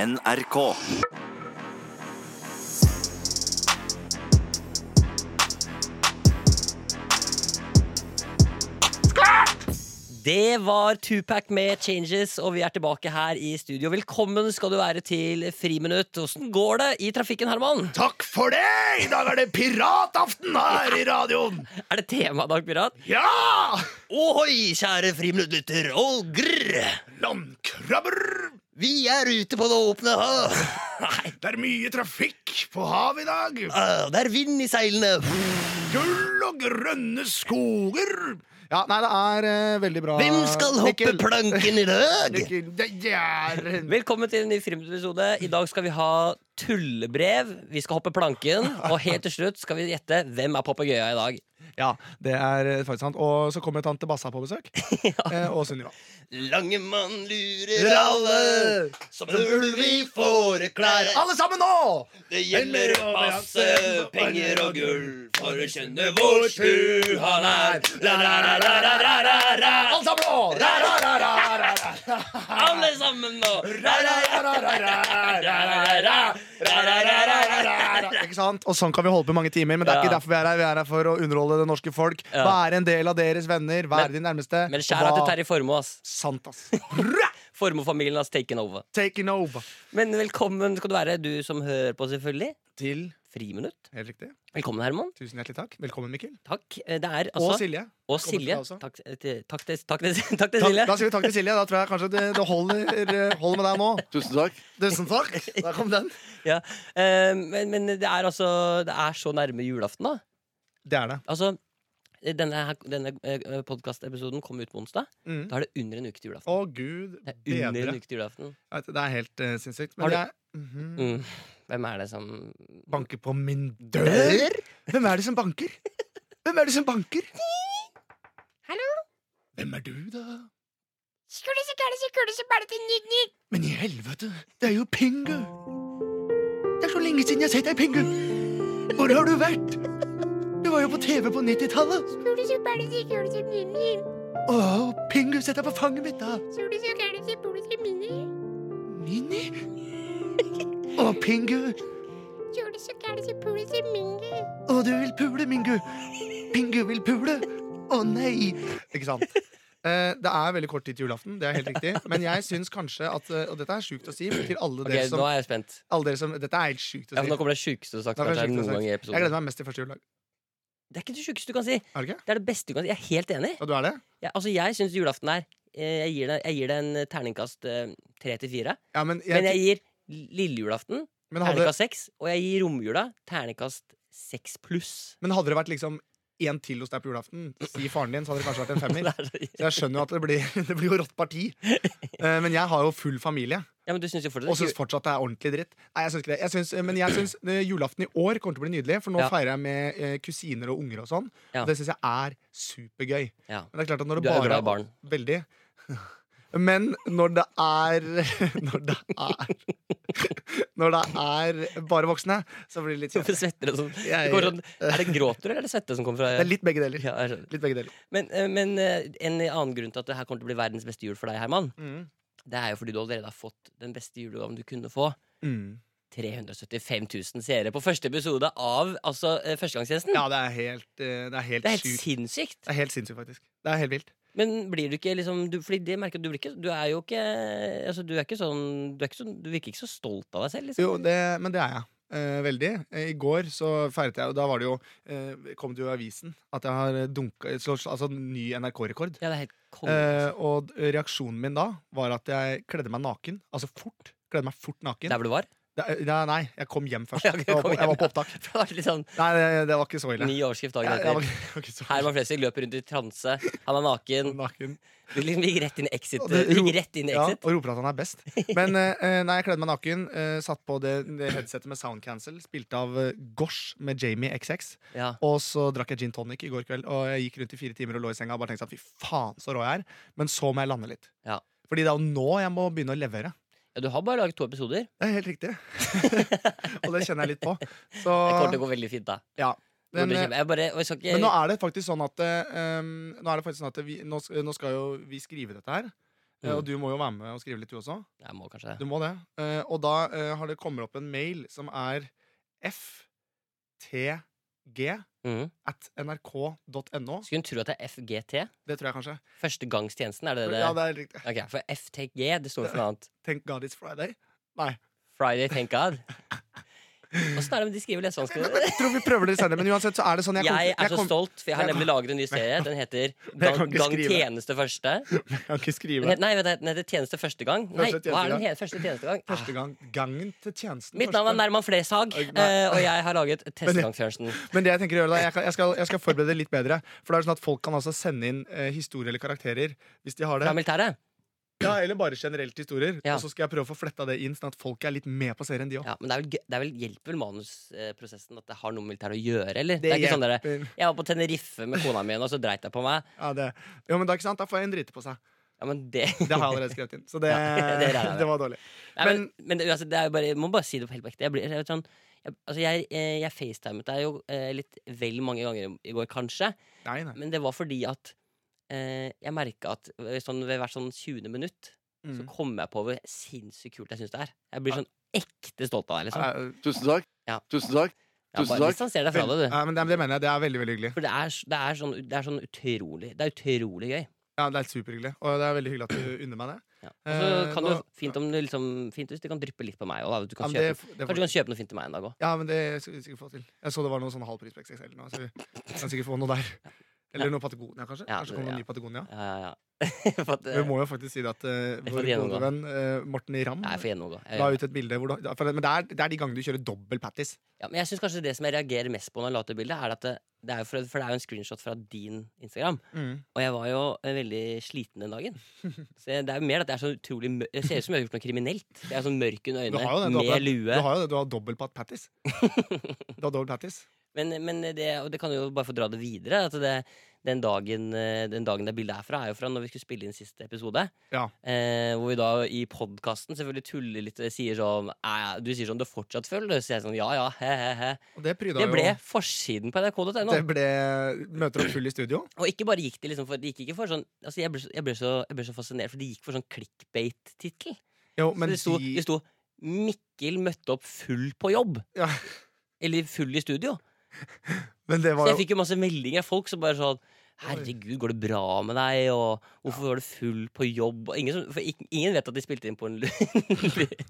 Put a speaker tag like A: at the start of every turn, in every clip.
A: NRK.
B: Det var Tupac med 'Changes', og vi er tilbake her i studio. Velkommen skal du være til Friminutt. Åssen går det i trafikken, Herman?
C: Takk for det! I dag er det pirataften her i radioen!
B: Er det tema, Dag Pirat?
C: Ja!
B: Ohoi, kjære Friminutt-lytter, og grr!
C: Landkrabber!
B: Vi er ute på det åpne hav. Nei,
C: Det er mye trafikk på havet i dag.
B: ah, det er vind i seilene.
C: Gull og grønne skoger. Ja, nei, det er eh, veldig bra.
B: Hvem skal hoppe
C: Mikkel.
B: planken i dag?
C: Mikkel, Det, det er
B: Velkommen til en ny Friminutt-episode. I dag skal vi ha tullebrev. Vi skal hoppe planken, og helt til slutt skal vi gjette hvem er papegøya i dag.
D: Ja, det er eh, faktisk sant. Og så kommer tante Bassa på besøk. eh, og Sunniva.
B: Langemann lurer alle, som en ulv i fåreklær.
D: Alle sammen nå!
B: Det gjelder å passe penger og gull, for å skjønne hvor slu han er. La, la, la, la, la, la, la, la.
D: Alle sammen nå! Ra, ra, ra, ra, ra, ra.
B: Alle sammen nå! La, la, la, la, la, la, la, la. La, la, la, la, la, la, la.
D: Ikke sant? Og sånn kan vi holde på i mange timer, men det er
B: Ja.
D: ikke derfor vi er her. Vi er her for å underholde det norske folk.
B: Ja.
D: Være en del av deres venner.
B: Men-
D: Være din nærmeste.
B: Men skjæra
D: og
B: til
D: hva-
B: Terje Formoe, ass.
D: Sant, ass.
B: Formoe-familien has taken over.
D: Taking over.
B: Men velkommen skal du være, du som hører på, selvfølgelig.
D: Til
B: Friminutt.
D: Helt riktig.
B: Velkommen, Herman.
D: Tusen hjertelig takk. Velkommen, Mikkel.
B: Takk. Eh, Det er
D: Og
B: altså
D: Silje.
B: Og
D: Kommer til
B: Silje.
D: deg også.
B: Takk, eh, til- takk, til, takk, til, takk til
D: Da,
B: Silje.
D: da sier vi takk til Silje. Da tror jeg kanskje det, det holder, eh, holder med deg nå.
C: Tusen takk.
D: Tusen takk. Der kom den.
B: Ja. Eh, men, men det er altså Det er så nærme julaften, da.
D: Det er det.
B: Altså, denne, her- denne eh, podkastepisoden kom ut på onsdag.
D: Mm.
B: Da er det under en uke til julaften.
D: Å, gud
B: det er under en
D: bedre.
B: uke til julaften
D: Vet du, Det er helt eh, sinnssykt.
B: Har
D: Men
B: du-
D: jeg Mhm.
B: mm. Hvem er det som
D: banker på min dør? Hvem er det som banker? Hvem er det som banker?
E: Hallo?
D: Hvem er du, da?
E: Skulle så gære, så kule, så bare til nydelig.
D: Men i helvete, det er jo Pingu! Det er så lenge siden jeg har sett deg, Pingu! Hvor har du vært? Du var jo på TV på 90-tallet.
E: Skulle så bare til kule, så nydelig.
D: Å, Pingu, sett deg på fanget mitt, da!
E: Skulle så gære, så kule, så mini.
D: Mini? Å, Pingu,
E: Skulle så gære, så kule, så mini.
D: Å, du vil pule, Mingu. Pingu vil pule. Å nei. Ikke sant? Eh, det er veldig kort tid til julaften, det er helt riktig. Men jeg syns kanskje at eh, Og dette er sjukt å si men til alle
B: Ok,
D: dere, som,
B: Nå er jeg spent.
D: alle dere som Dette er helt sjukt å
B: Ja,
D: si.
B: for nå kommer det sjukeste du har sagt.
D: Nå kommer det
B: kanskje,
D: sjukeste
B: noen
D: jeg har
B: gang i
D: jeg gleder
B: episoden.
D: meg mest til første juledag.
B: Det er ikke det sjukeste du kan si.
D: Er det ikke?
B: Det er det beste du kan si. Jeg er helt enig.
D: Ja, du er det?
B: Jeg, altså, jeg syns julaften er eh, jeg gir, det, jeg gir det en eh, terningkast eh, tre til fire.
D: Ja, men, jeg,
B: Men jeg gir lille julaften
D: men, hadde,
B: terningkast seks, og jeg gir romjula terningkast seks pluss.
D: men hadde det vært liksom én til hos deg på julaften, si faren din, så hadde det kanskje vært en femmer. Så jeg skjønner jo at det blir, det blir jo rått parti. Eh, men jeg har jo full familie.
B: Ja, men du synes jo fortsatt
D: Og syns fortsatt det er ordentlig dritt. Nei, jeg syns ikke det. Jeg syns, men jeg syns eh, julaften i år kommer til å bli nydelig, for nå
B: Ja.
D: feirer jeg med eh, kusiner og unger og sånn.
B: Ja.
D: Og det syns jeg er supergøy.
B: Ja.
D: Men det er klart at når
B: Du
D: det
B: er jo
D: bare
B: glad i barn.
D: Veldig. Men når det er Når det er Når det er bare voksne, så blir det litt
B: Hvorfor
D: kjedelig.
B: svetter det sånn?
D: Jeg-
B: Det går sånn? Er det gråter eller er det svette som kommer fra
D: Det er litt begge deler.
B: ja, jeg skjønner.
D: Litt begge deler.
B: men, eh, men eh, en annen grunn til at det her kommer til å bli verdens beste jul for deg, Herman,
D: Mm.
B: det er jo fordi du allerede har fått den beste julegaven du kunne få.
D: Mm.
B: 375 000 seere på første episode av altså, eh, Førstegangstjenesten.
D: Ja, det er helt, eh, det er helt,
B: det er helt
D: sjukt.
B: sinnssykt.
D: Det er helt sinnssykt, faktisk. Det er helt vilt.
B: Men blir du ikke liksom du, Fordi det merker jeg at du blir ikke Du er jo ikke altså, Du er ikke sånn Du, er ikke sånn, du virker ikke så stolt av deg selv, liksom.
D: Jo, det, men det er jeg. Eh, veldig. Eh, I går så feiret jeg, og da var det jo, eh, kom det jo i avisen at jeg har dunka slå- slå- Altså ny NRK-rekord.
B: Ja, det er helt konge. altså.
D: Eh, og d- reaksjonen min da var at jeg kledde meg naken. Altså fort. Kledde meg fort naken.
B: Der hvor du var?
D: Det- ja, nei, jeg kom hjem først.
B: Ja, ok,
D: Jeg var
B: kom
D: på, jeg
B: hjem,
D: var på opptak.
B: For det har vært litt sånn
D: Nei, det, det var ikke så ille.
B: ny overskrift dagen
D: Jeg, jeg var,
B: etter.
D: jeg var ikke så
B: Herman Flesvig løper rundt i transe. Han er naken.
D: naken.
B: Du liksom gikk rett inn i exit.
D: Og
B: Du
D: det-
B: gikk rett inn i
D: Ja, og
B: exit.
D: roper at han er best. Men eh, eh, nei, jeg kledde meg naken. Eh, satt på det, det headsetet med sound cancel. Spilte av eh, Gosh med Jamie XX.
B: Ja.
D: Og så drakk jeg gin tonic i går kveld, og jeg gikk rundt i fire timer og lå i senga og bare tenkte sånn, fy faen så rå jeg er. Men så må jeg lande litt.
B: Ja.
D: Fordi det er jo nå jeg må begynne å levere.
B: ja, du har bare laget to episoder.
D: Det er helt riktig. og det kjenner jeg litt på. Så,
B: Det kommer til å gå veldig fint, da.
D: ja.
B: Det
D: Men,
B: blir
D: eh,
B: kjempe- jeg bare, og jeg skal ikke,
D: men nå er det faktisk sånn at, eh, um, nå, er det faktisk sånn at vi, nå, sk- nå skal jo vi skrive dette her. Eh,
B: Mm.
D: Og du må jo være med og skrive litt, du også.
B: Jeg må kanskje
D: Du må det. Eh, og da eh, har det kommer opp en mail som er ftg
B: Mhm.
D: at nrk.no.
B: Skulle hun tro at det er FGT?
D: Det tror jeg kanskje.
B: Førstegangstjenesten? Er det det?
D: Ja, det er riktig.
B: Ok, For FTG, det står for noe annet.
D: Thank God it's Friday. Nei.
B: Friday, thank God. Åssen er det med de skriver
D: Men,
B: lesevansker?
D: men, jeg tror vi prøver det senere, men uansett så er det sånn Jeg, kom,
B: Jeg er så
D: kom,
B: stolt, for jeg har
D: jeg
B: nemlig laget en ny serie. Den heter
D: kan
B: Gang,
D: ikke
B: gang
D: skrive.
B: tjeneste første.
D: jeg kan ikke
B: Den
D: skrive
B: het- Nei, vent, den heter Tjeneste første gang. Nei,
D: Første
B: hva er den
D: tjeneste
B: he- første tjeneste gang? Ah,
D: første gang. Gangen til tjenesten.
B: Mitt navn er
D: første.
B: Nerman Fleshag,
D: Ok,
B: eh, og jeg har laget Testgang
D: Men-
B: Fjørnsen.
D: Men det jeg tenker å gjøre da jeg, kan, jeg, skal, jeg skal forberede det litt bedre. For det er sånn at folk kan altså sende inn eh, historier eller karakterer hvis de har
B: Fra
D: det.
B: militæret.
D: Ja, Eller bare generelt historier.
B: Ja.
D: Og så skal jeg prøve å få fletta det inn, sånn at folk er litt med på serien, de òg.
B: Ja, men det, er vel, gøy- det er vel hjelper vel manusprosessen at det har noe med militæret å gjøre, eller? Det er ikke sånn dere Jeg var på Tenerife med kona mi, og så dreit jeg på meg.
D: Ja, det. Jo, men da, ikke sant? da får jeg en drite på seg.
B: Ja, men det
D: Det har jeg allerede skrevet inn. Så det,
B: Ja, det
D: det,
B: regner jeg med.
D: var dårlig.
B: Nei, men, men det, altså, det er jo bare, jeg må bare si det på helt på ekte. Jeg, blir, jeg, vet sånn, jeg, altså, jeg, eh, jeg facetimet deg jo eh, litt vel mange ganger i- i går, kanskje.
D: Nei, nei.
B: Men det var fordi at eh, jeg merka at eh, sånn, ved hvert sånn 20. minutt så
D: Mm.
B: kommer jeg på hvor sinnssykt kult jeg syns det er. Jeg blir sånn ekte stolt av deg, liksom.
D: Eh,
C: Tusen takk.
B: Ja.
C: Tusen takk.
B: Ja,
C: tusen
B: bare
C: takk.
B: distanser deg fra
D: vel-
B: det, du.
D: ja, men det, det mener jeg. Det er veldig veldig hyggelig.
B: For det er, s- det, er sånn, det er sånn utrolig Det er utrolig gøy.
D: Ja, Det er superhyggelig. Og det er veldig hyggelig at du unner meg det.
B: Ja. Og så
D: Eh,
B: kan du
D: nå-
B: fint, om du liksom, fint hvis du kan dryppe litt på meg. Og da, du
D: Ja,
B: kan
D: men det,
B: kjøpe,
D: det
B: kanskje du kan kjøpe noe fint til meg en dag òg.
D: ja, men det skal vi sikkert få til. Jeg så det var sånn noen sånne halvprispeks XL nå, så vi kan sikkert få noe der. Eller noe Patagonia, kanskje.
B: Ja,
D: Kanskje kommer
B: ja.
D: noe ny Patagonia.
B: Ja, ja, ja. For at, eh,
D: Vi må jo faktisk si det at eh,
B: får
D: vår
B: gjennomgå.
D: gode venn eh, Morten Ramm
B: Nei, jeg får gjennomgå. Jeg
D: la
B: gjør det.
D: ut et bilde hvor du, for, Men det er, det er de gangene du kjører dobbel patties.
B: Ja, men jeg synes kanskje det som jeg reagerer mest på når jeg la ut det bildet, er at det, det er jo for, for det er jo en screenshot fra din Instagram.
D: Mm.
B: Og jeg var jo eh, veldig sliten den dagen. Så jeg- det er jo mer at det er så utrolig mør Jeg ser ut som jeg har gjort noe kriminelt. Jeg er sånn mørk under
D: Du har jo
B: øynene,
D: den, du har
B: med
D: den. Du
B: lue.
D: har jo det, du har dobbel pat- patties. Du har dobbel patties.
B: Men, men det, og det kan jo bare få dra det videre. At det, den, dagen, eh, den dagen det bildet er fra, er jo fra når vi skulle spille inn siste episode.
D: Ja.
B: Eh, hvor vi da i podkasten selvfølgelig tuller litt og sier sånn «Æ, Du sier sånn du fortsatt føler det. Så jeg sånn ja ja, he-he-he.
D: Og det pryda
B: Det ble
D: jo
B: forsiden på nrk.no.
D: Det ble møter opp full i studio.
B: Og ikke bare gikk det liksom for, det gikk ikke for sånn altså jeg, ble, så- jeg, ble så, jeg ble så fascinert, for det gikk for sånn clickbait-tittel.
D: Jo,
B: Så
D: men
B: det sto,
D: de,
B: det sto 'Mikkel møtte opp full på jobb'.
D: Ja.
B: Eller 'full i studio'.
D: men det
B: Så
D: var
B: jeg
D: jo
B: fikk jo masse meldinger av folk som bare sånn 'Herregud, går det bra med deg?' Og 'Hvorfor var du full på jobb?' Og ingen, som, for ik- ingen vet at de spilte inn på en lu-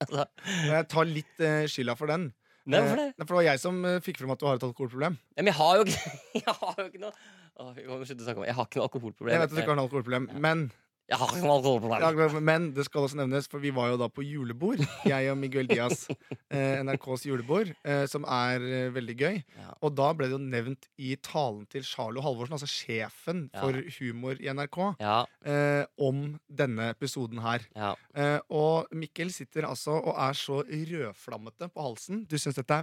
B: altså,
D: Jeg tar litt eh, skylda for den.
B: Nei,
D: Eh,
B: hvorfor det?
D: nei, for det var jeg som eh, fikk frem at du har et alkoholproblem.
B: Nei, men jeg har jo ikke, jeg har jo ikke noe Å, vi må slutte å snakke om det. Jeg har ikke noe alkoholproblem.
D: Jeg vet at du ikke har et alkoholproblem, men
B: Jeg har ikke noe alkoholproblem.
D: Ja, Men det skal også nevnes, for vi var jo da på julebord. Jeg og Miguel Diaz. Eh, NRKs julebord, eh, som er eh, veldig gøy.
B: Ja.
D: Og da ble det jo nevnt i talen til Charlo Halvorsen, altså sjefen
B: Ja.
D: for humor i NRK,
B: Ja,
D: eh, om denne episoden her.
B: ja.
D: Eh, og Mikkel sitter altså og er så rødflammete på halsen. Du syns dette er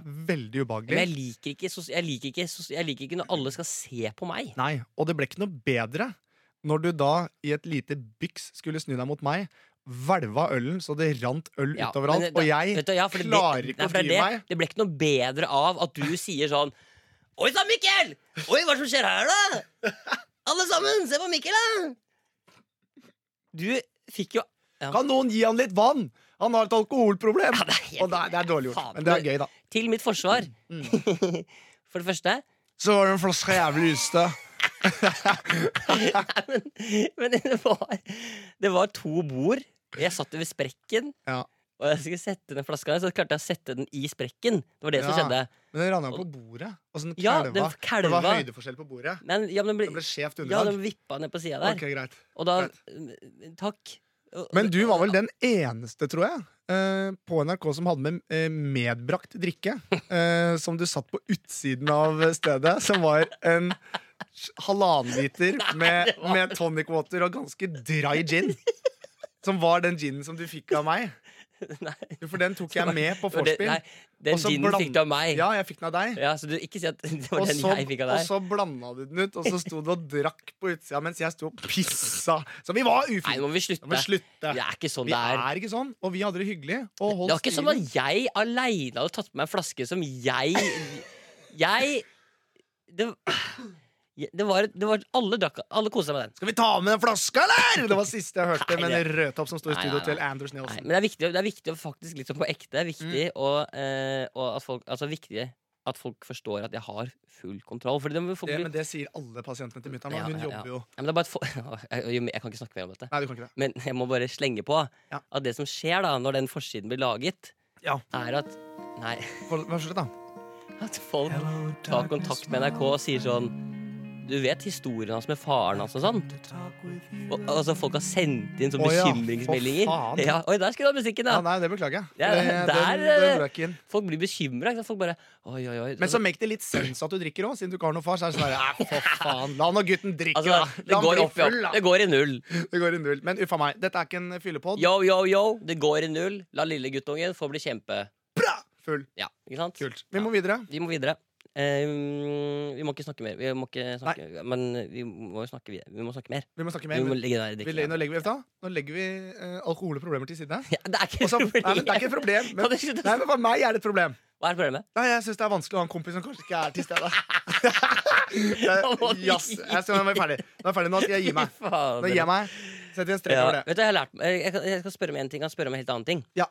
B: Men jeg
D: veldig ubehagelig.
B: liker ikke, sos- jeg liker ikke, sos- jeg liker ikke når alle skal se på meg.
D: Nei, Og det ble ikke noe bedre når du da i et lite byks skulle snu deg mot meg. Hvelva ølen så det rant øl
B: Ja, men
D: utoveralt.
B: det-
D: og jeg
B: vet du, ja, for det-
D: klarer ikke
B: nei,
D: å
B: for det er
D: dy
B: det-
D: meg.
B: Det ble ikke noe bedre av at du sier sånn Oi sann, Mikkel! Oi, hva er det som skjer her, da? Alle sammen, se på Mikkel, da! Du fikk jo Ja.
D: Kan noen gi han litt vann? Han har et alkoholproblem!
B: Ja, det er helt-
D: og det er, det er dårlig gjort.
B: Faen,
D: Men det er gøy, da.
B: Til mitt forsvar.
D: Mm.
B: For det første
D: Så var det en flaske jævlig ystø.
B: Nei, men, men det var Det var to bord. Jeg satt ved sprekken.
D: Ja.
B: Og jeg skulle sette den flaska, så klarte jeg å sette den i sprekken. Det var det som
D: Ja.
B: skjedde.
D: Men den rann jo på bordet. Og så den
B: Ja, den
D: kalva. For Det var
B: kalva.
D: høydeforskjell på bordet.
B: Men, ja, men det
D: Det
B: ble,
D: ble skjevt
B: ja,
D: underlag.
B: den vippa ned på sida der.
D: Ok, greit.
B: Og da
D: Greit.
B: mm, Takk. Og-
D: Men du var vel den eneste, tror jeg, eh, på NRK som hadde med eh, medbrakt drikke. eh, Som du satt på utsiden av stedet, som var en s- halvannen liter med, med tonic water og ganske dry gin. Som var den ginen som du fikk av meg.
B: Nei,
D: Jo, For den tok jeg med på
B: det var det-
D: vorspiel.
B: nei, Den
D: Og så
B: ginen
D: bland-
B: fikk du av meg. Ja.
D: Ja, jeg fikk den av deg.
B: Så du ikke si at det var
D: Og
B: den
D: så,
B: jeg fikk av
D: og
B: deg.
D: så blanda du den ut, og så sto du og drakk på utsida mens jeg sto og pissa. Så vi var
B: Nei, nå
D: ufine.
B: må vi slutte.
D: Men slutt.
B: Det er ikke sånn
D: Vi
B: det er.
D: er ikke sånn, og vi hadde det hyggelig. Og
B: Det
D: holdt
B: var ikke sånn
D: stilen.
B: at jeg aleine hadde tatt på meg en flaske som jeg Jeg det, Ja, Det var, det var, alle drakk, alle koste seg med den.
D: Skal vi ta med den flaska, eller?! Det var siste jeg hørte
B: Nei,
D: med en
B: det-
D: rødtopp som sto i
B: Nei,
D: studio
B: nei, nei.
D: til Anders
B: Nei,
D: Nelson.
B: men det er viktig, det er viktig å faktisk litt sånn på ekte. Det er
D: Mm.
B: viktig, og, eh, og at folk, altså, viktig at folk forstår at jeg har full kontroll. Fordi det, må folk,
D: Det,
B: bli-
D: men det sier alle pasientene til mutter'n.
B: Ja,
D: Hun
B: ja, ja.
D: jobber jo
B: Ja, men det er bare et for... jeg, jeg kan ikke snakke mer om dette.
D: Nei, du kan ikke det.
B: Men jeg må bare slenge på
D: Ja.
B: at det som skjer da når den forsiden blir laget,
D: Ja.
B: er at Nei,
D: For- Vær så snill, da.
B: at folk tar kontakt med NRK og sier sånn Du vet historien hans med faren hans og sånn? Og, altså Folk har sendt inn sånne
D: Å ja, for
B: bekymringsmeldinger.
D: faen.
B: Ja, oi, der skulle du ha musikken,
D: Ja,
B: da!
D: nei, det beklager jeg.
B: Ja,
D: det,
B: der,
D: den,
B: eh,
D: den røk inn.
B: Folk blir bekymra. Folk bare Oi, oi, oi.
D: Men så make det litt sens at du drikker òg, siden du ikke har noen far. Så er det sånn der, "Æ, for faen, La nå gutten drikke,
B: altså,
D: da.
B: det
D: La han
B: går opp
D: bli
B: i opp.
D: full, da.
B: Det går i null.
D: Det går i null. Men uffa meg, dette er ikke en fyllepod.
B: Yo, yo, yo. Det går i null. La lille guttungen få bli kjempe...
D: Full.
B: Ja, ikke sant?
D: Kult. Vi må videre.
B: Vi må videre. Ehm, vi må ikke snakke mer. Vi må ikke snakke, men vi må jo snakke videre. Vi må snakke mer.
D: Vi må snakke
B: Vi
D: mer.
B: må
D: men
B: legge den der
D: Vi,
B: drikken.
D: legger- nå legger vi, vet du hva? nå legger vi eh, alkoholproblemer til side.
B: Ja, det er ikke
D: Og så-
B: et problem.
D: nei, men det er ikke et problem. Men,
B: Kan du slutte å
D: nei, men for meg er det et problem.
B: Hva er problemet?
D: Nei, jeg syns det er vanskelig å ha en kompis som kanskje ikke er til stede.
B: Nå må du gi-
D: Jazz. Jeg skal nå er jeg ferdig. Nå er jeg ferdig. Nå skal jeg gi meg.
B: Fy fader.
D: Nå gir jeg meg. Setter en strek
B: Ja,
D: over det.
B: vet du, jeg, har lært, meg- jeg, kan- jeg skal spørre om en ting, jeg kan spørre om en helt annen ting.
D: Ja.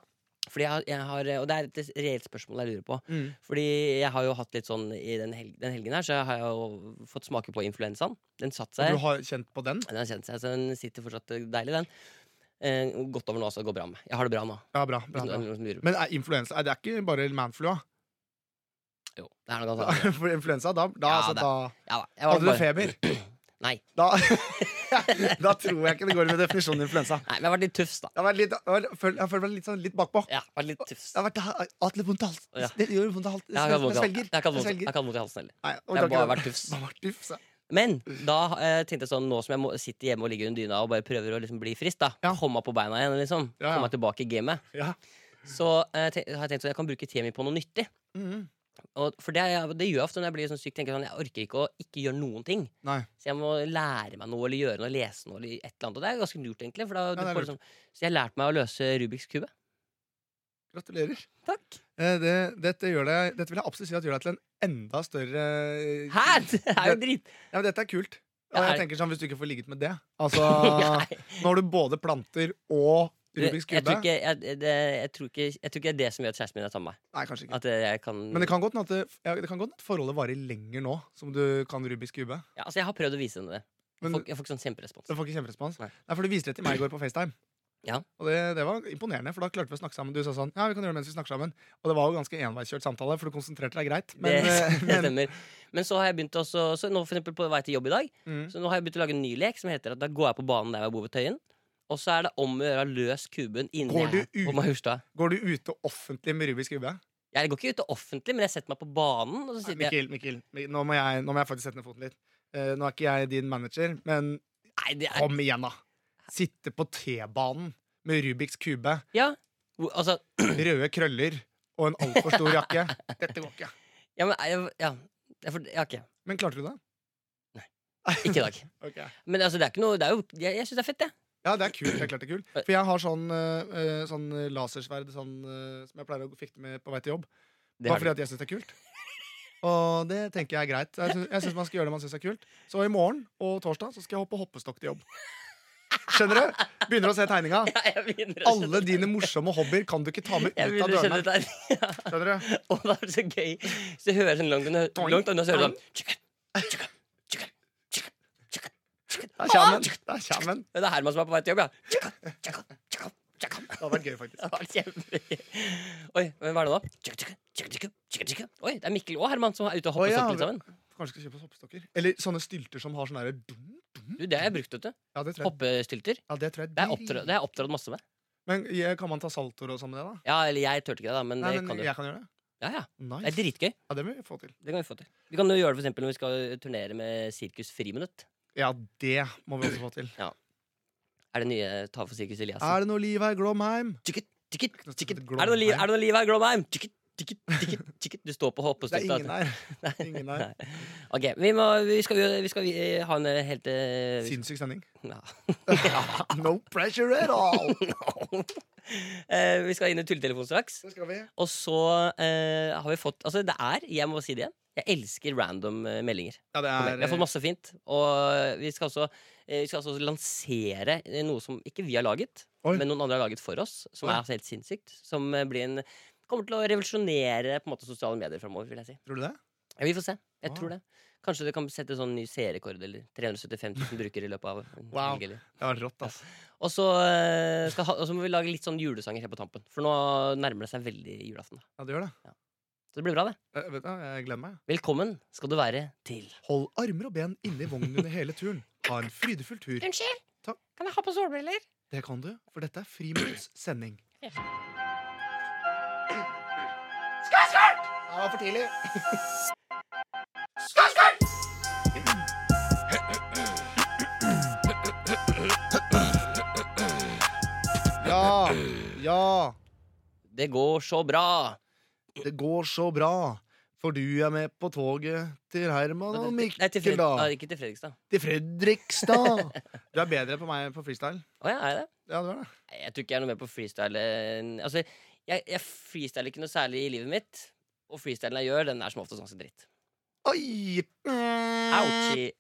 B: Fordi jeg, har- jeg har, og det er et reelt spørsmål jeg lurer på.
D: Mm.
B: Fordi jeg har jo hatt litt sånn i den, helg, den helgen her, så har jeg jo fått smake på influensaen. Den satt seg.
D: Du har kjent på den?
B: Den har kjent seg, så den sitter fortsatt deilig, den. Eh, godt over nå, så det går bra med. Jeg har det bra nå.
D: Ja, bra.
B: Hvis
D: bra, bra.
B: noen- noen lurer på-
D: Men er influensa er Det er ikke bare manflua.
B: Jo, det er noe ganske annet.
D: For influensa, da, da,
B: Ja,
D: altså,
B: det-
D: da
B: Ja, da, jeg var
D: Hadde du
B: bare-
D: feber?
B: Nei.
D: Da, da tror jeg ikke det går med definisjonen influensa.
B: Nei, men jeg har vært litt tøff, da.
D: Jeg har vært litt, jeg har følt- jeg har følt meg litt, sånn, litt bakpå.
B: Ja, jeg har vært litt tøff.
D: Jeg har vært, jeg har hatt litt vondt i halsen.
B: Ja.
D: Det gjør vondt i halsen.
B: Jeg har ikke hatt vondt i halsen.
D: Jeg
B: Jeg har ikke hatt vondt- jeg har
D: svelger.
B: ikke hatt vondt i halsen heller.
D: Nei,
B: Jeg har bare vært tufs.
D: Det har vært tufs, ja.
B: Men da eh, tenkte jeg sånn, nå som jeg må, sitter hjemme og ligger under dyna og bare prøver å liksom bli frisk, da
D: Ja.
B: komme meg på beina igjen, liksom,
D: Ja, ja.
B: komme meg tilbake i gamet,
D: Ja.
B: så eh, tenk, har jeg tenkt at jeg kan bruke tida mi på noe nyttig.
D: Mhm.
B: Og, for det, er- det gjør jeg ofte når jeg blir sånn syk. tenker jeg sånn, Jeg orker ikke å ikke gjøre noen ting.
D: Nei.
B: Så jeg må lære meg noe eller gjøre noe, lese noe. eller et eller annet Og det er ganske lurt, egentlig. For da, du
D: det er
B: får liksom, så jeg lærte meg å løse Rubiks kube.
D: Gratulerer.
B: Takk.
D: Eh, Det, dette, gjør deg, dette vil jeg absolutt si at gjør deg til en enda større eh,
B: Hæ?! Det er jo drit...
D: Ja, men Dette er kult. Og
B: Ja,
D: jeg
B: er-
D: tenker sånn, Hvis du ikke får ligget med det Altså, Nå har du både planter og Rubiks
B: Jeg tror
D: kube.
B: ikke, jeg, det, jeg, tror ikke, jeg tror ikke det er det som gjør at kjæresten min er sammen med meg.
D: Nei, kanskje ikke.
B: At eh, jeg kan,
D: Men det kan godt hende at det- ja, det kan godt hende at forholdet varer lenger nå som du kan Rubiks kube.
B: ja, altså, jeg har prøvd å vise henne det. Jeg
D: Men-
B: får, jeg får ikke sånn kjemperespons.
D: Du får ikke kjemperespons.
B: Nei.
D: Nei. for Du viste det til meg i går på FaceTime.
B: Ja.
D: Og det, det var imponerende, for da klarte vi å snakke sammen. Du sa sånn, ja, vi kan gjøre det mens vi snakker sammen. Og det var jo ganske enveiskjørt samtale, for du konsentrerte deg greit. Men,
B: det,
D: eh,
B: det
D: men
B: stemmer. Men så har jeg begynt også, så nå for eksempel på vei til jobb i dag,
D: Mm.
B: så nå har jeg begynt å lage en ny lek som heter at da går jeg på banen der jeg bor ved Tøyen, og så er det om å gjøre å løse kuben inni
D: Går du ut?
B: på Majorstad.
D: går du ute offentlig med Rubiks kube?
B: Jeg går ikke ut offentlig, men jeg setter meg på banen, og så sitter jeg
D: Mikkel, Mikkel, Mikkel, nå må, jeg, nå må jeg faktisk sette ned foten litt. Eh, nå er ikke jeg din manager, men
B: Nei, det er
D: kom igjen, da. Sitte på T-banen med Rubiks kube,
B: Ja. Hvor- Altså,
D: røde krøller og en altfor stor jakke. Dette går ikke.
B: ja, men jeg, ja. Jeg får- ja, ok.
D: Men klarte du det?
B: Ikke i dag.
D: Ok.
B: Men altså, det er ikke noe det er jo, Jeg, jeg syns det er fett, jeg.
D: Ja, det er kult. Det er klart det er kult. For jeg har sånn, eh, eh, sånn lasersverd sånn, eh, som jeg pleier å fikte med på vei til jobb.
B: Det
D: Bare
B: har du.
D: fordi at jeg syns det er kult. Og det tenker jeg er greit. Jeg syns, jeg syns man skal gjøre det man syns er kult. Så i morgen og torsdag så skal jeg hoppe hoppestokk til jobb. Skjønner du? Begynner å se tegninga.
B: Ja, jeg begynner å skjønne-
D: Alle dine morsomme hobbyer kan du ikke ta med
B: jeg
D: ut av
B: begynner å skjønne
D: dørene.
B: dette her. Ja.
D: Skjønner
B: Og
D: du?
B: det er så gøy. Så jeg hører sånn langt unna, langt unna så hører du sånn tjukka, tjukka, tjukka, tjukka, tjukka, tjukka.
D: Der kommer den. Der kommer den.
B: Det er Herman som er på vei til jobb, ja. Tjukka, tjukka, tjukka, tjukka.
D: Det hadde vært gøy, faktisk.
B: Det var kjempegøy. Oi, hvem er det nå? Tjukka, tjukka, tjukka, tjukka, tjukka, tjukka. Oi, det er Mikkel og Herman som er ute og hopper
D: Å, ja,
B: sokkel sammen.
D: Kanskje skal kjøpe oss hoppestokker. Eller sånne stylter som har sånn derre dum.
B: Du, det har jeg brukt, vet du.
D: Ja, det tror jeg.
B: Hoppestylter.
D: Ja, det tror jeg
B: Det har jeg opptrådt- det har jeg opptrådt masse med.
D: Men eh, kan man ta saltoer og sånn med det, da?
B: Ja, eller jeg turte ikke det, da, men
D: Nei,
B: det kan
D: men
B: du.
D: jeg kan gjøre det.
B: Ja, ja. Det er
D: Nice.
B: dritgøy.
D: Ja, det må vi få til.
B: Det kan vi få til. Vi kan jo gjøre det for eksempel når vi skal turnere med Sirkus Friminutt.
D: Ja, det må vi også få til.
B: Er det nye Ta for Sirkus Eliassen?
D: Er det noe liv her, Glomheim?
B: Tikket, tikket,
D: noe som
B: tikket.
D: heter
B: Er det noe liv,
D: Glomheim?
B: er det noe liv her, Glomheim? Tikket, tikket, tikket, tikket. Du står på
D: Det er
B: hoppestokk.
D: ingen
B: da.
D: her. Ingen her.
B: Nei. Ok, vi, må, vi skal, jo- vi skal eh, ha en eh, helt eh, vi-
D: Sinnssyk sending.
B: ja.
D: No pressure at all!
B: Eh, Vi skal inn i tulletelefonen straks.
D: Det skal vi.
B: Og så eh, har vi fått Altså, det er, jeg må si det igjen, Jeg elsker random eh, meldinger.
D: Ja, det
B: Kom igjen. Jeg har
D: er
B: fått masse fint. Og vi skal også, eh, vi skal også lansere eh, noe som ikke vi har laget,
D: Oi.
B: men noen andre har laget for oss, som
D: Oi.
B: er helt sinnssykt. Som eh, blir en Kommer til å revolusjonere på en måte sosiale medier framover, vil jeg si.
D: Tror du det?
B: Ja, vi får se. Jeg
D: Wow.
B: tror det. Kanskje det kan sette sånn ny seerrekord eller 375 000 brukere i løpet av en
D: Wow.
B: helg. eller-
D: Det var rått, altså.
B: Og så eh, skal ha- og så må vi lage litt sånn julesanger helt på tampen, for nå nærmer det seg veldig julaften. da.
D: Ja, det gjør det.
B: Så det blir bra, det.
D: Jeg, vet, du, jeg gleder meg.
B: Velkommen skal du være til
D: Hold armer og ben inne i vognen under hele turen. Ha en frydefull tur.
E: Unnskyld?
D: Takk.
E: Kan jeg ha på solbriller?
D: Det kan du, for dette er Friminutts sending. Skål, skål! Det var for tidlig.
C: Ja, ja.
B: Det går så bra.
D: Det går så bra, for du er med på toget til Herman og
B: Nei, til Fred-
D: Mikkel,
B: Ah,
D: da.
B: ikke til Fredrikstad.
D: Til Fredrikstad. Du er bedre på meg på freestyle.
B: Å ja, er jeg det?
D: Ja, du er det.
B: Nei, Jeg tror ikke jeg er noe mer på freestyle. enn- Altså, jeg, jeg freestyler ikke noe særlig i livet mitt. Og freestylen jeg gjør, den er som oftest ganske dritt.
D: Oi!
B: Ouchie.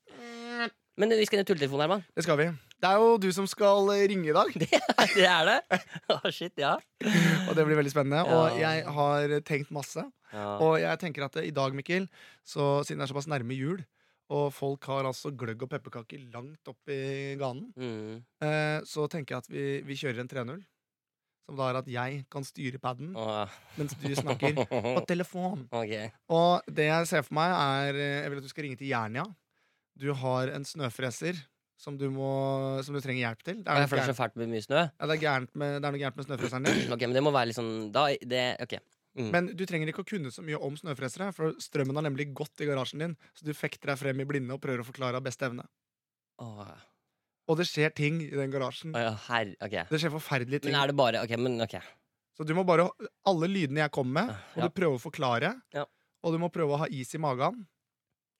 B: Men vi skal inn i tulletelefonen, Herman.
D: Det skal vi. Det er jo du som skal ringe i dag,
B: Det er det? Å, shit, ja.
D: og det blir veldig spennende. Og
B: Ja.
D: jeg har tenkt masse.
B: ja.
D: Og jeg tenker at eh, i dag, Mikkel, så, siden det er såpass nærme jul, og folk har altså gløgg og pepperkaker langt opp i ganen,
B: Mm.
D: eh, så tenker jeg at vi, vi kjører en 3-0. Som da er at jeg kan styre paden
B: Å,
D: mens du snakker på telefon.
B: ok.
D: Og det jeg ser for meg, er eh, Jeg vil at du skal ringe til Jernia. Du har en snøfreser som du, må, som du trenger hjelp til. Det er,
B: Jeg
D: noe
B: føler så
D: gærent,
B: fælt med mye snø.
D: ja, det er, gærent, med, det er noe gærent med snøfreseren din.
B: Ok, Men det må være litt sånn da, det, Ok.
D: Men du trenger ikke å kunne så mye om snøfresere, for strømmen har nemlig gått i garasjen din, så du fekter deg frem i blinde og prøver å forklare av beste evne.
B: Å,
D: Og det skjer ting i den garasjen.
B: å ja, herre Ok.
D: Det skjer forferdelige ting.
B: Men er det bare Ok, men ok.
D: Så du må bare Alle lydene jeg kommer med, må
B: Ja.
D: du prøve å forklare,
B: Ja.
D: og du må prøve å ha is i magen,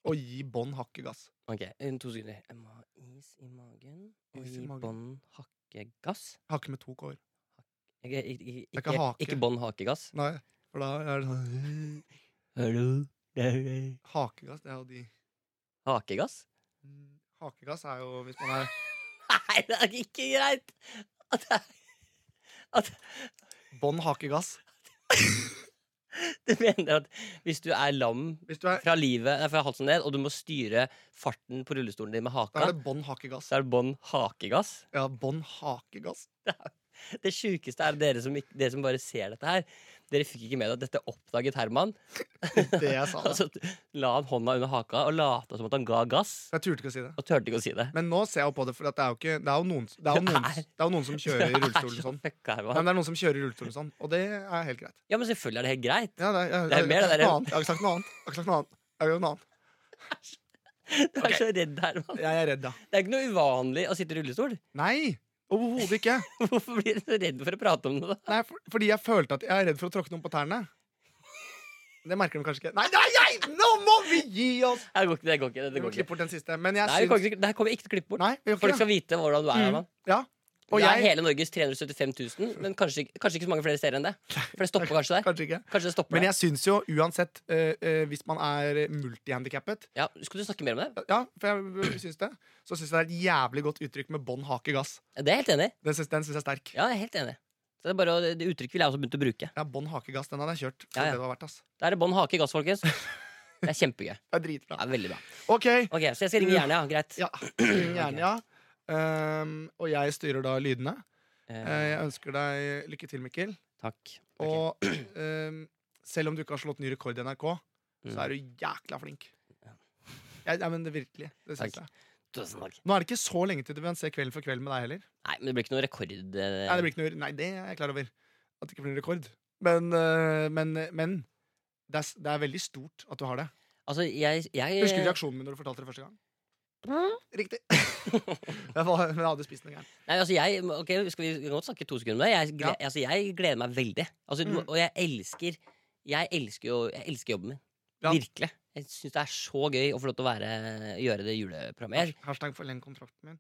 D: og gi bånn hakkegass.
B: Ok, en- To sekunder. Jeg må ha is i magen og
D: Is i
B: i
D: magen.
B: bånn hakkegass.
D: Hakke med to k-er.
B: Ikke, ikke,
D: er
B: ikke,
D: ikke hake.
B: ikke bånn hakegass.
D: Nei, for da er det sånn
B: Hallo,
D: Hakegass, det er jo de mm,
B: Hakegass?
D: Hakegass er jo hvis man er
B: Nei, det er ikke greit! At det, at
D: bånn hakegass.
B: det mener at hvis du er lam
D: Hvis du er
B: fra livet nei, fra halsen ned, og du må styre farten på rullestolen din med
D: Da
B: haka,
D: er det bånn hakegass.
B: så er det bånn hakegass.
D: Ja, bånn hakegass.
B: Det sjukeste er dere som, ikke, dere som bare ser dette her. Dere fikk ikke med dere at dette oppdaget Herman.
D: Det jeg sa.
B: Og så la han hånda under haka og lata som at han ga gass.
D: Jeg turte ikke å si det.
B: Og turte ikke å si det.
D: Men nå ser jeg jo på det, for at det er jo ikke Det er jo noen, det er jo noen,
B: Det er-
D: det er jo noen som kjører i rullestolen sånn.
B: Fucka,
D: Nei, men
B: Herman.
D: det er noen som kjører i rullestolen sånn, og det er helt greit.
B: Ja, men selvfølgelig er det helt greit.
D: Ja, det, jeg,
B: Det er mer det
D: jeg,
B: der-
D: jeg, jeg, jeg har ikke sagt noe annet. Jeg har ikke sagt noe annet. Jeg har ikke sagt noe annet.
B: Du er så redd, Herman.
D: Jeg er redd, ja.
B: Det er ikke noe uvanlig å sitte i rullestol.
D: Nei! Overhodet ikke.
B: Hvorfor blir du så redd for å prate om det, da?
D: Nei, for, fordi jeg følte at jeg er redd for å tråkke noen på tærne. Det merker de kanskje ikke. Nei, nei, nei! Nå må vi gi oss!
B: Det går ikke. Det går ikke,
D: Vi
B: det
D: må
B: går ikke.
D: klippe bort den siste. Men jeg
B: Nei, vi
D: syns
B: kommer ikke, det her kommer vi ikke til å klippe bort.
D: Nei, vi gjør
B: Folk
D: ikke det.
B: skal vite hvordan du er. Herman.
D: Ja. Og
B: det er
D: jeg
B: hele Norges 375 000, men kanskje, ikke- kanskje ikke så mange flere steder enn det. For det stopper kanskje der.
D: Kanskje ikke.
B: Kanskje det stopper
D: Men
B: der.
D: jeg syns jo uansett, eh, eh, hvis man er multihandikappet
B: Ja, skal du snakke mer om det?
D: Ja, for jeg syns det. Så syns jeg det er et jævlig godt uttrykk med bånn hake gass.
B: Det er jeg helt enig i.
D: Den syns den syns jeg er sterk.
B: Ja, jeg er helt enig. Så det, er bare, å- det uttrykket ville jeg også begynt å bruke.
D: Ja, bånn hake gass, den hadde jeg kjørt. for
B: Ja, ja.
D: Det det var verdt, ass.
B: Da er det bånn hake i gass, folkens. Det er kjempegøy.
D: Det er dritbra.
B: Det er veldig bra.
D: OK.
B: Ok, Så jeg skal ringe Jernia. Ja. Greit.
D: Ja, ring gjerne, ja. Um, og jeg styrer da lydene. Eh,
B: Eh,
D: jeg ønsker deg lykke til, Mikkel.
B: takk. Ok.
D: Og um, selv om du ikke har slått ny rekord i NRK, så
B: Mm.
D: er du jækla flink. Ja, nei, men det virkelig. Det syns
B: Takk.
D: jeg.
B: Tusen takk.
D: Nå er det ikke så lenge til du kan se Kvelden for kvelden med deg heller.
B: Nei, men det blir ikke noe rekord. eh,
D: Nei, det blir ikke noe, nei, det er jeg klar over. At det ikke blir rekord. Men, eh, men, men det, er, s- det er veldig stort at du har det.
B: Altså, jeg, jeg
D: Husker du reaksjonen min når du fortalte det første gang? Riktig. jeg var, men jeg hadde spist noe gærent.
B: Nei, altså jeg, ok, skal vi vi kan godt snakke to sekunder om det? Jeg, gle,
D: Ja.
B: altså jeg gleder meg veldig. Altså, du-
D: Mm.
B: Og jeg elsker Jeg elsker jo jeg elsker jobben min.
D: Ja.
B: Virkelig. Jeg syns det er så gøy å få lov til å være, gjøre det juleprogrammet. Jeg-
D: Hashtag forleng kontrakten min.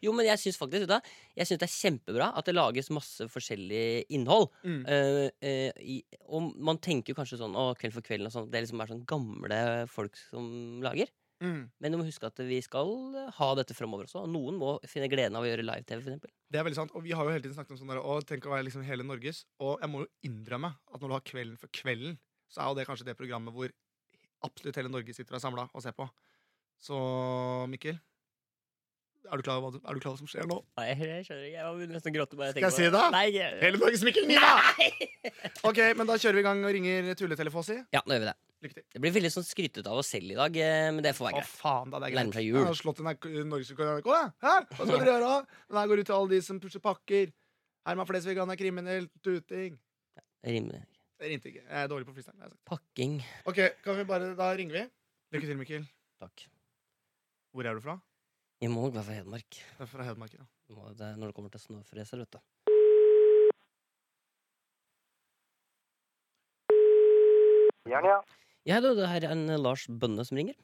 B: Jo, men jeg syns faktisk vet du hva? Jeg synes det er kjempebra at det lages masse forskjellig innhold.
D: Mm.
B: Eh, eh, i, og man tenker jo kanskje sånn å, Kveld for kvelden og sånn. Det er liksom bare sånn gamle folk som lager.
D: Mm.
B: Men du må huske at vi skal ha dette framover også. Og noen må finne gleden av å gjøre live-TV, for eksempel.
D: Det er veldig sant, og Vi har jo hele tiden snakket om sånn der, å, tenk å være liksom hele Norges. Og jeg må jo innrømme at når du har Kvelden for kvelden, så er jo det kanskje det programmet hvor absolutt hele Norge sitter og er samla og ser på. Så Mikkel, er du klar over hva, du- er du klar over hva som skjer nå?
B: Nei, jeg skjønner ikke. Jeg begynner nesten å gråte bare jeg
D: Skal jeg si
B: tenker på
D: det?
B: Nei, jeg-
D: Hele Norges Mikkel Niva! Ok, men da kjører vi i gang og ringer tulletelefonen si.
B: Ja, nå gjør vi det.
D: Lykke til.
B: Det blir veldig sånn skrytete av oss selv i dag, eh, men det får være
D: Å,
B: greit.
D: faen, da. Det er
B: Nærmer
D: greit.
B: seg jul.
D: Jeg har slått eh, en norgesrekord i NRK, jeg. Hæ? Hva skal dere gjøre? da? Den her går ut til alle de som pusher pakker. Herman Flesvig, han er kriminell. Tuting.
B: Rimelig.
D: Det rimte ikke. Jeg er dårlig på freestyle. jeg har sagt.
B: Pakking.
D: Ok, kan vi bare, Da ringer vi. Lykke til, Mikkel.
B: Takk.
D: Hvor er du fra?
B: Jeg må nok være fra Hedmark.
D: Det er fra Hedmark. Ja.
B: Det må- det er Når det kommer til snøfreser, vet du.
A: Gjerne, ja.
B: Ja, hallo, det her er en eh, Lars Bønne som ringer.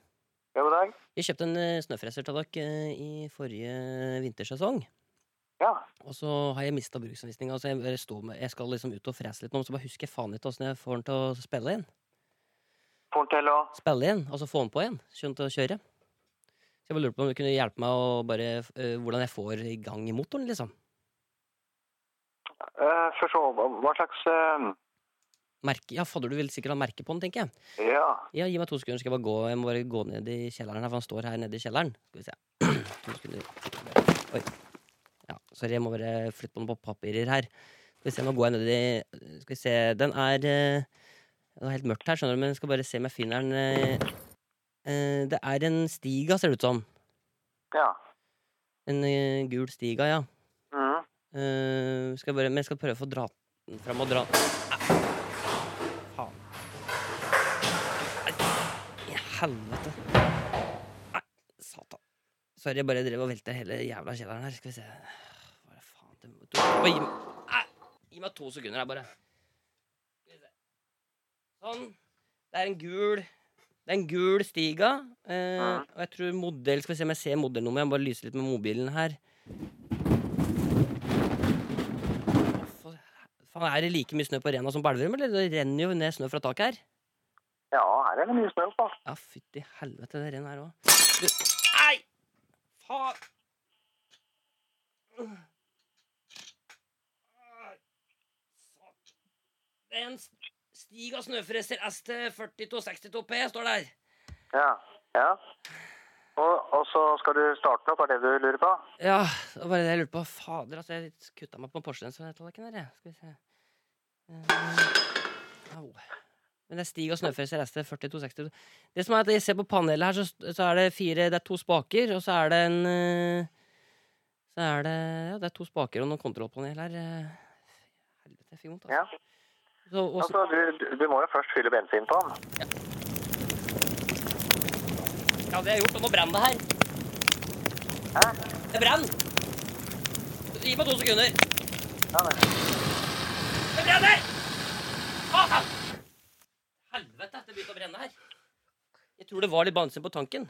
A: Ja, god dag.
B: Jeg kjøpte en eh, snøfreser til dere eh, i forrige vintersesong.
A: Ja.
B: Og så har jeg mista bruksanvisninga, så jeg, bare står med, jeg skal liksom ut og frese litt nå. Men så bare husker jeg faen ikke åssen jeg får den til å spille inn.
A: Fortell og
B: Spille inn, altså få den på igjen. Skjønt å kjøre. Så jeg bare lurte på om du kunne hjelpe meg å bare, eh, hvordan jeg får i gang i motoren, liksom.
A: uh, For så, hva slags eh,
B: Merke, ja, fadder, du vil sikkert ha merke på den, tenker jeg.
A: Ja.
B: Ja, Gi meg to sekunder, skal jeg bare gå Jeg må bare gå ned i kjelleren her, for han står her nede i kjelleren. Skal vi se. To sekunder. Oi. Ja, sorry, jeg må bare flytte på noen papirer her. Skal vi se, nå går jeg ned i Skal vi se, den er eh, Det er helt mørkt her, skjønner du, men jeg skal bare se om jeg finner den. eh. Eh, Det er en Stiga, ser det ut som.
A: Ja.
B: En eh, gul Stiga, ja.
A: Mhm.
B: Eh, skal jeg bare, men jeg skal prøve å få dra den fram og dra Faen. Nei, I helvete. Nei, satan. Sorry, jeg bare drev og velta hele jævla kjelleren her. Skal vi se Hva er det faen det må- to- Oi, gi meg- Nei, Gi meg to sekunder her, bare. Skal vi se. Sånn. Det er en gul Det er en gul Stiga. eh,
A: Mhm.
B: og jeg tror modell Skal vi se om jeg ser modellnummeret. Jeg må bare lyse litt med mobilen her. For- Faen, Er det like mye snø på Rena som på Elverum, eller? Det renner jo ned snø fra taket her.
A: ja, her er det mye snø, altså. da.
B: Ja, fytti helvete, det renner her òg. Nei! Faen! Ai, satan. Det er en st- Stig av snøfreser ST4262P står der.
A: Ja. ja. Og, og så skal du starte opp, er det du lurer på?
B: Ja, det var bare det jeg lurte på. Fader, altså, jeg kutta meg på porselenstallerkenen der, jeg. Skal vi se. Eh, au. Men det er Stig og Snøfreser ST 4262. Det som er at jeg ser på panelet her, så, så er det fire Det er to spaker, og så er det en eh, Så er det Ja, det er to spaker og noen kontrollpanel her. eh. Helvete, jeg fikk vondt,
A: Ja.
B: altså. Så, og, så-
A: Altså, du, du må jo først fylle bensin på den.
B: ja, det har jeg gjort, og nå brenner det her.
A: Hæ?
B: Det brenner! Gi meg to sekunder.
A: Ja, det.
B: Det brenner! Ah! Helvete, det begynte å brenne her. Jeg tror det var litt bensin på tanken.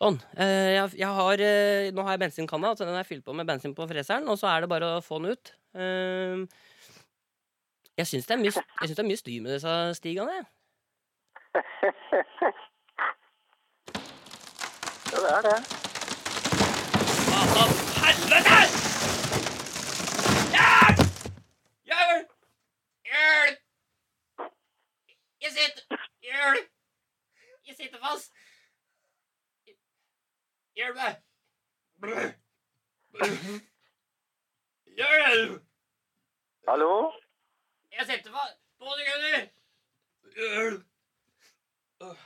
B: Sånn. eh, Jeg, jeg har, eh, nå har jeg bensinkanna, så den er fylt på med bensin på freseren. Og så er det bare å få den ut. Eh, Jeg syns det, er mye- jeg syns det er mye styr med disse stigene. jeg.
A: Ja, det er det.
B: Altså, helvete! Hjelp! Hjelp! Hjelp! Jeg sitter Hjelp! Jeg sitter fast. Hjelp meg! Hjelp!
A: Hallo?
B: Jeg sitter fast. To sekunder! Hjelp! Åh.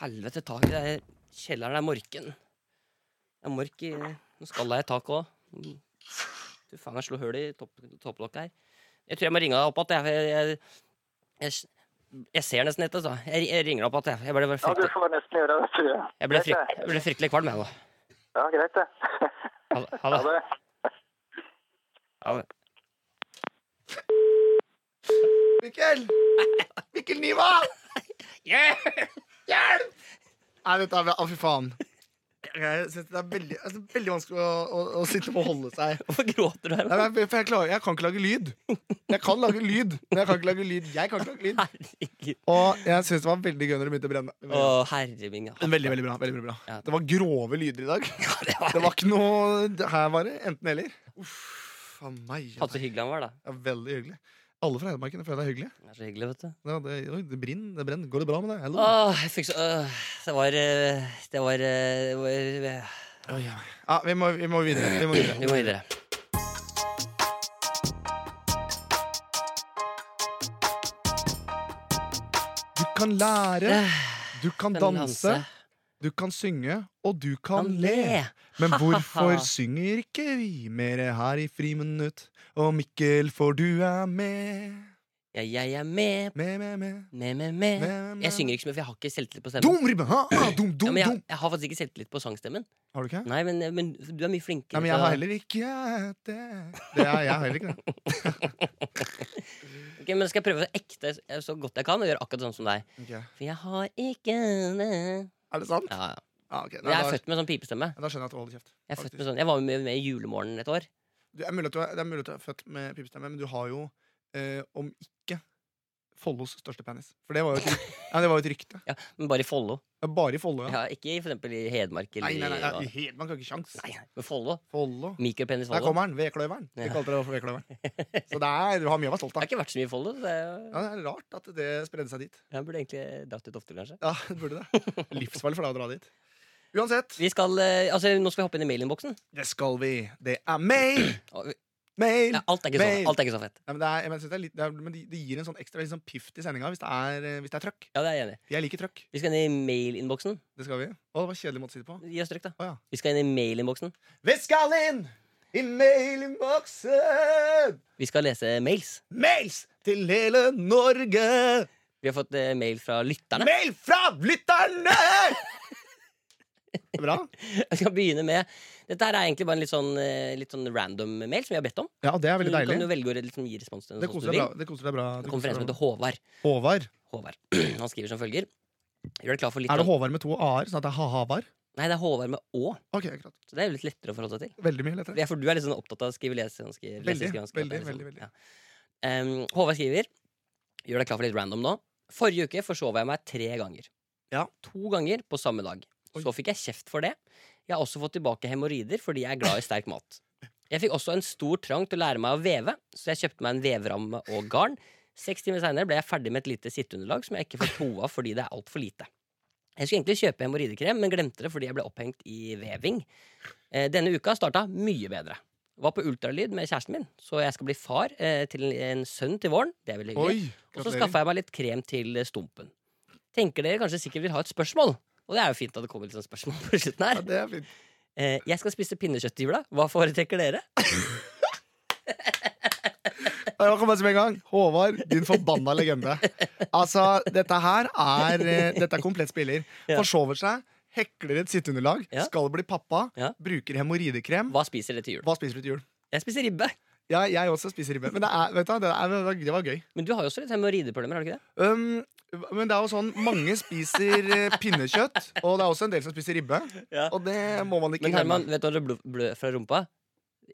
B: Helvete, taket der. Kjelleren er morken. Det er mork i Nå skalla jeg i taket òg. Du faen, jeg slo hull i topp, topplokket her. Jeg tror jeg må ringe deg opp igjen. Jeg, jeg, jeg, jeg, jeg ser nesten etter, så. Jeg, jeg ringer deg opp igjen. Jeg, ble bare
A: Ja, du
B: fryktelig-
A: får nesten gjøre det, tror jeg.
B: jeg, ble
A: Greit,
B: frykt- jeg ble fryktelig kvalm, jeg nå.
A: Ja, greit det.
B: Ha det. Ha
A: Ha
B: det.
A: det.
B: Ha det.
D: Mikkel! Mikkel Niva!
B: Yeah!
D: Nei, dette er Å, fy faen. Jeg synes det er veldig, altså, veldig vanskelig å, å, å sitte og holde seg.
B: Hvorfor gråter du her?
D: Nei, men jeg- for jeg, klarer, jeg kan ikke lage lyd. Jeg kan lage lyd, men jeg kan ikke lage lyd. Jeg kan ikke lage lyd.
B: Herregud.
D: Og jeg syns det var veldig gøy når det begynte å brenne.
B: Å, herre min ja.
D: Men veldig, veldig bra. veldig, veldig bra
B: Ja.
D: Det var grove lyder i dag.
B: Det var
D: Det var ikke noe det Her var det enten-eller. Uff a meg.
B: Faen, så hyggelig han var, da.
D: Ja, veldig hyggelig. Alle fra Hedmarken føler deg hyggelig.
B: Det er så hyggelig, vet du.
D: Ja, det, oi, det brenner, det brenner. Går det bra med deg? Hello.
B: Åh, jeg fikk så øh, Det var øh, Det var, øh, det var øh,
D: Oi, oi. Ja, vi, må, vi må videre. Vi må videre.
B: Vi må videre.
D: Du kan lære, du kan
B: Kan
D: danse, du kan synge, og du kan le. Men hvorfor synger ikke vi mer her i Friminutt? Og Mikkel, for du er med.
B: Ja, jeg er med,
D: Med, med, med.
B: med, med, med.
D: med, med.
B: Jeg synger ikke så mye, for jeg har ikke selvtillit på stemmen.
D: Dum, ribbe, ha, ha, dum,
B: Ja,
D: dum,
B: men jeg,
D: dum.
B: jeg har faktisk ikke selvtillit på sangstemmen.
D: Har du ikke?
B: Nei, men, men du er mye flinkere.
D: Nei, men
B: til
D: jeg
B: å-
D: har heller ikke det. Det er jeg har heller ikke det.
B: Ok, men skal jeg prøve å ekte eh, så godt jeg kan, og gjøre akkurat sånn som deg.
D: Ok.
B: For jeg har ikke det
D: Er det sant?
B: ja, ja.
D: Ah, ok.
B: Men
D: Nei,
B: Jeg er
D: da,
B: født med sånn pipestemme.
D: da skjønner jeg at du holder kjeft.
B: Jeg, er født
D: faktisk.
B: med sånn, jeg var jo med, med i Julemorgen et år.
D: Du, er mulig at du er, det er mulig at du er født med pipestemme, men du har jo, eh, om ikke Follos største penis. For det var jo et, ryk- ja, det var jo et rykte.
B: Ja, men bare i Follo.
D: Ja, bare i Follo, ja.
B: Ja, ikke i, for eksempel i Hedmark eller
D: Nei, nei, nei,
B: i-
D: i helt- man kan ikke kjangs.
B: nei, nei, men Follo.
D: Follo.
B: Mikropenis
D: Der
B: Follo.
D: kommer den, vedkløyveren. Vi
B: Ja.
D: kalte det for vedkløyveren. Så det er, du har mye å være stolt
B: Jeg
D: av.
B: har ikke vært så mye i Follo. så det er-
D: Ja, det er rart at det spredde seg dit.
B: Jeg burde egentlig dratt ut oftere, kanskje.
D: Ja, det burde det. Livsfarlig for deg å dra dit. Uansett,
B: Vi skal, eh, altså, nå skal vi hoppe inn i mailinnboksen.
D: det skal vi. Det er mail!
B: Og vi-
D: Mail!
B: Ja, alt, er ikke så,
D: Mail.
B: alt er ikke så fett.
D: Nei, men det, er, jeg mener, jeg synes det, er litt, det, er, men det det gir en sånn ekstra litt sånn piff til sendinga hvis det er, eh, hvis det er trøkk.
B: Ja, det er jeg enig i.
D: Jeg liker trøkk.
B: Vi skal inn i mailinnboksen.
D: Det skal vi. Å, det var kjedelig måte å si det på.
B: Gi oss trykk, da.
D: Å, ja.
B: Vi skal inn i mailinnboksen.
D: Vi skal inn i mailinnboksen!
B: Vi skal lese mails.
D: Mails til hele Norge!
B: Vi har fått eh, mail fra lytterne.
D: Mail fra lytterne! Bra.
B: Jeg skal begynne med Dette her er egentlig bare en litt sånn, eh, litt sånn random mail som vi har bedt om.
D: Ja, det er
B: Du
D: veldig
B: kan jo
D: deilig.
B: velge å liksom gi respons til den.
D: Det
B: sånn som
D: koser
B: du
D: deg bra.
B: vil.
D: Det koser deg bra.
B: Det
D: Det
B: kommer fra en
D: koser
B: som
D: deg bra.
B: heter Håvard.
D: Håvard.
B: Håvard. Han skriver som følger. Gjør deg klar for litt
D: Er det
B: sånn-
D: Håvard med to a-er, sånn at det er ha-ha-var?
B: Nei, det er Håvard med Å.
D: Ok, akkurat.
B: Så det er jo litt lettere å forholde seg til.
D: Veldig mye lettere.
B: Ja, for du er litt sånn opptatt av skrive lese ganske
D: Veldig,
B: lese, skrive, ganske, at det er
D: veldig,
B: litt
D: veldig,
B: sånn, ja. Em, Håvard skriver Gjør deg klar for litt random nå. Forrige uke forsov jeg meg tre ganger.
D: Ja.
B: To ganger på samme dag.
D: Oi.
B: Så fikk jeg kjeft for det. Jeg har også fått tilbake hemoroider fordi jeg er glad i sterk mat. Jeg fikk også en stor trang til å lære meg å veve, så jeg kjøpte meg en veveramme og garn. Seks timer seinere ble jeg ferdig med et lite sitteunderlag som jeg ikke får toe av fordi det er altfor lite. Jeg skulle egentlig kjøpe hemoroidekrem, men glemte det fordi jeg ble opphengt i veving. Eh, Denne uka starta mye bedre. Var på ultralyd med kjæresten min, så jeg skal bli far eh, til en- en sønn til våren. Det er veldig hyggelig.
D: Oi,
B: Og så
D: gratulerer.
B: skaffa jeg meg litt krem til eh, stumpen. Tenker dere kanskje sikkert vil ha et spørsmål? Og det er jo fint at det kommer litt sånn spørsmål på slutten her.
D: Ja, det er fint.
B: Eh, jeg skal spise pinnekjøtt i jula. Hva foretrekker dere?
D: Jeg kan bare si med en gang Håvard, din forbanna legende. Altså, dette her er eh, Dette er komplett spiller.
B: Ja.
D: Forsover seg, hekler et sitteunderlag,
B: Ja.
D: skal bli pappa,
B: Ja.
D: bruker hemoroidekrem.
B: Hva spiser dere til jul?
D: Hva spiser du til jul?
B: Jeg spiser ribbe.
D: Ja, jeg også spiser ribbe. Men det, er, vet du, hva, det, er, det var gøy.
B: Men du har jo også litt hemoroideproblemer, har du ikke det?
D: Um, men det er jo sånn, mange spiser eh, pinnekjøtt, og det er også en del som spiser ribbe.
B: Ja.
D: Og det må man ikke
B: Men Herman, vet du hva det blø, blø fra rumpa?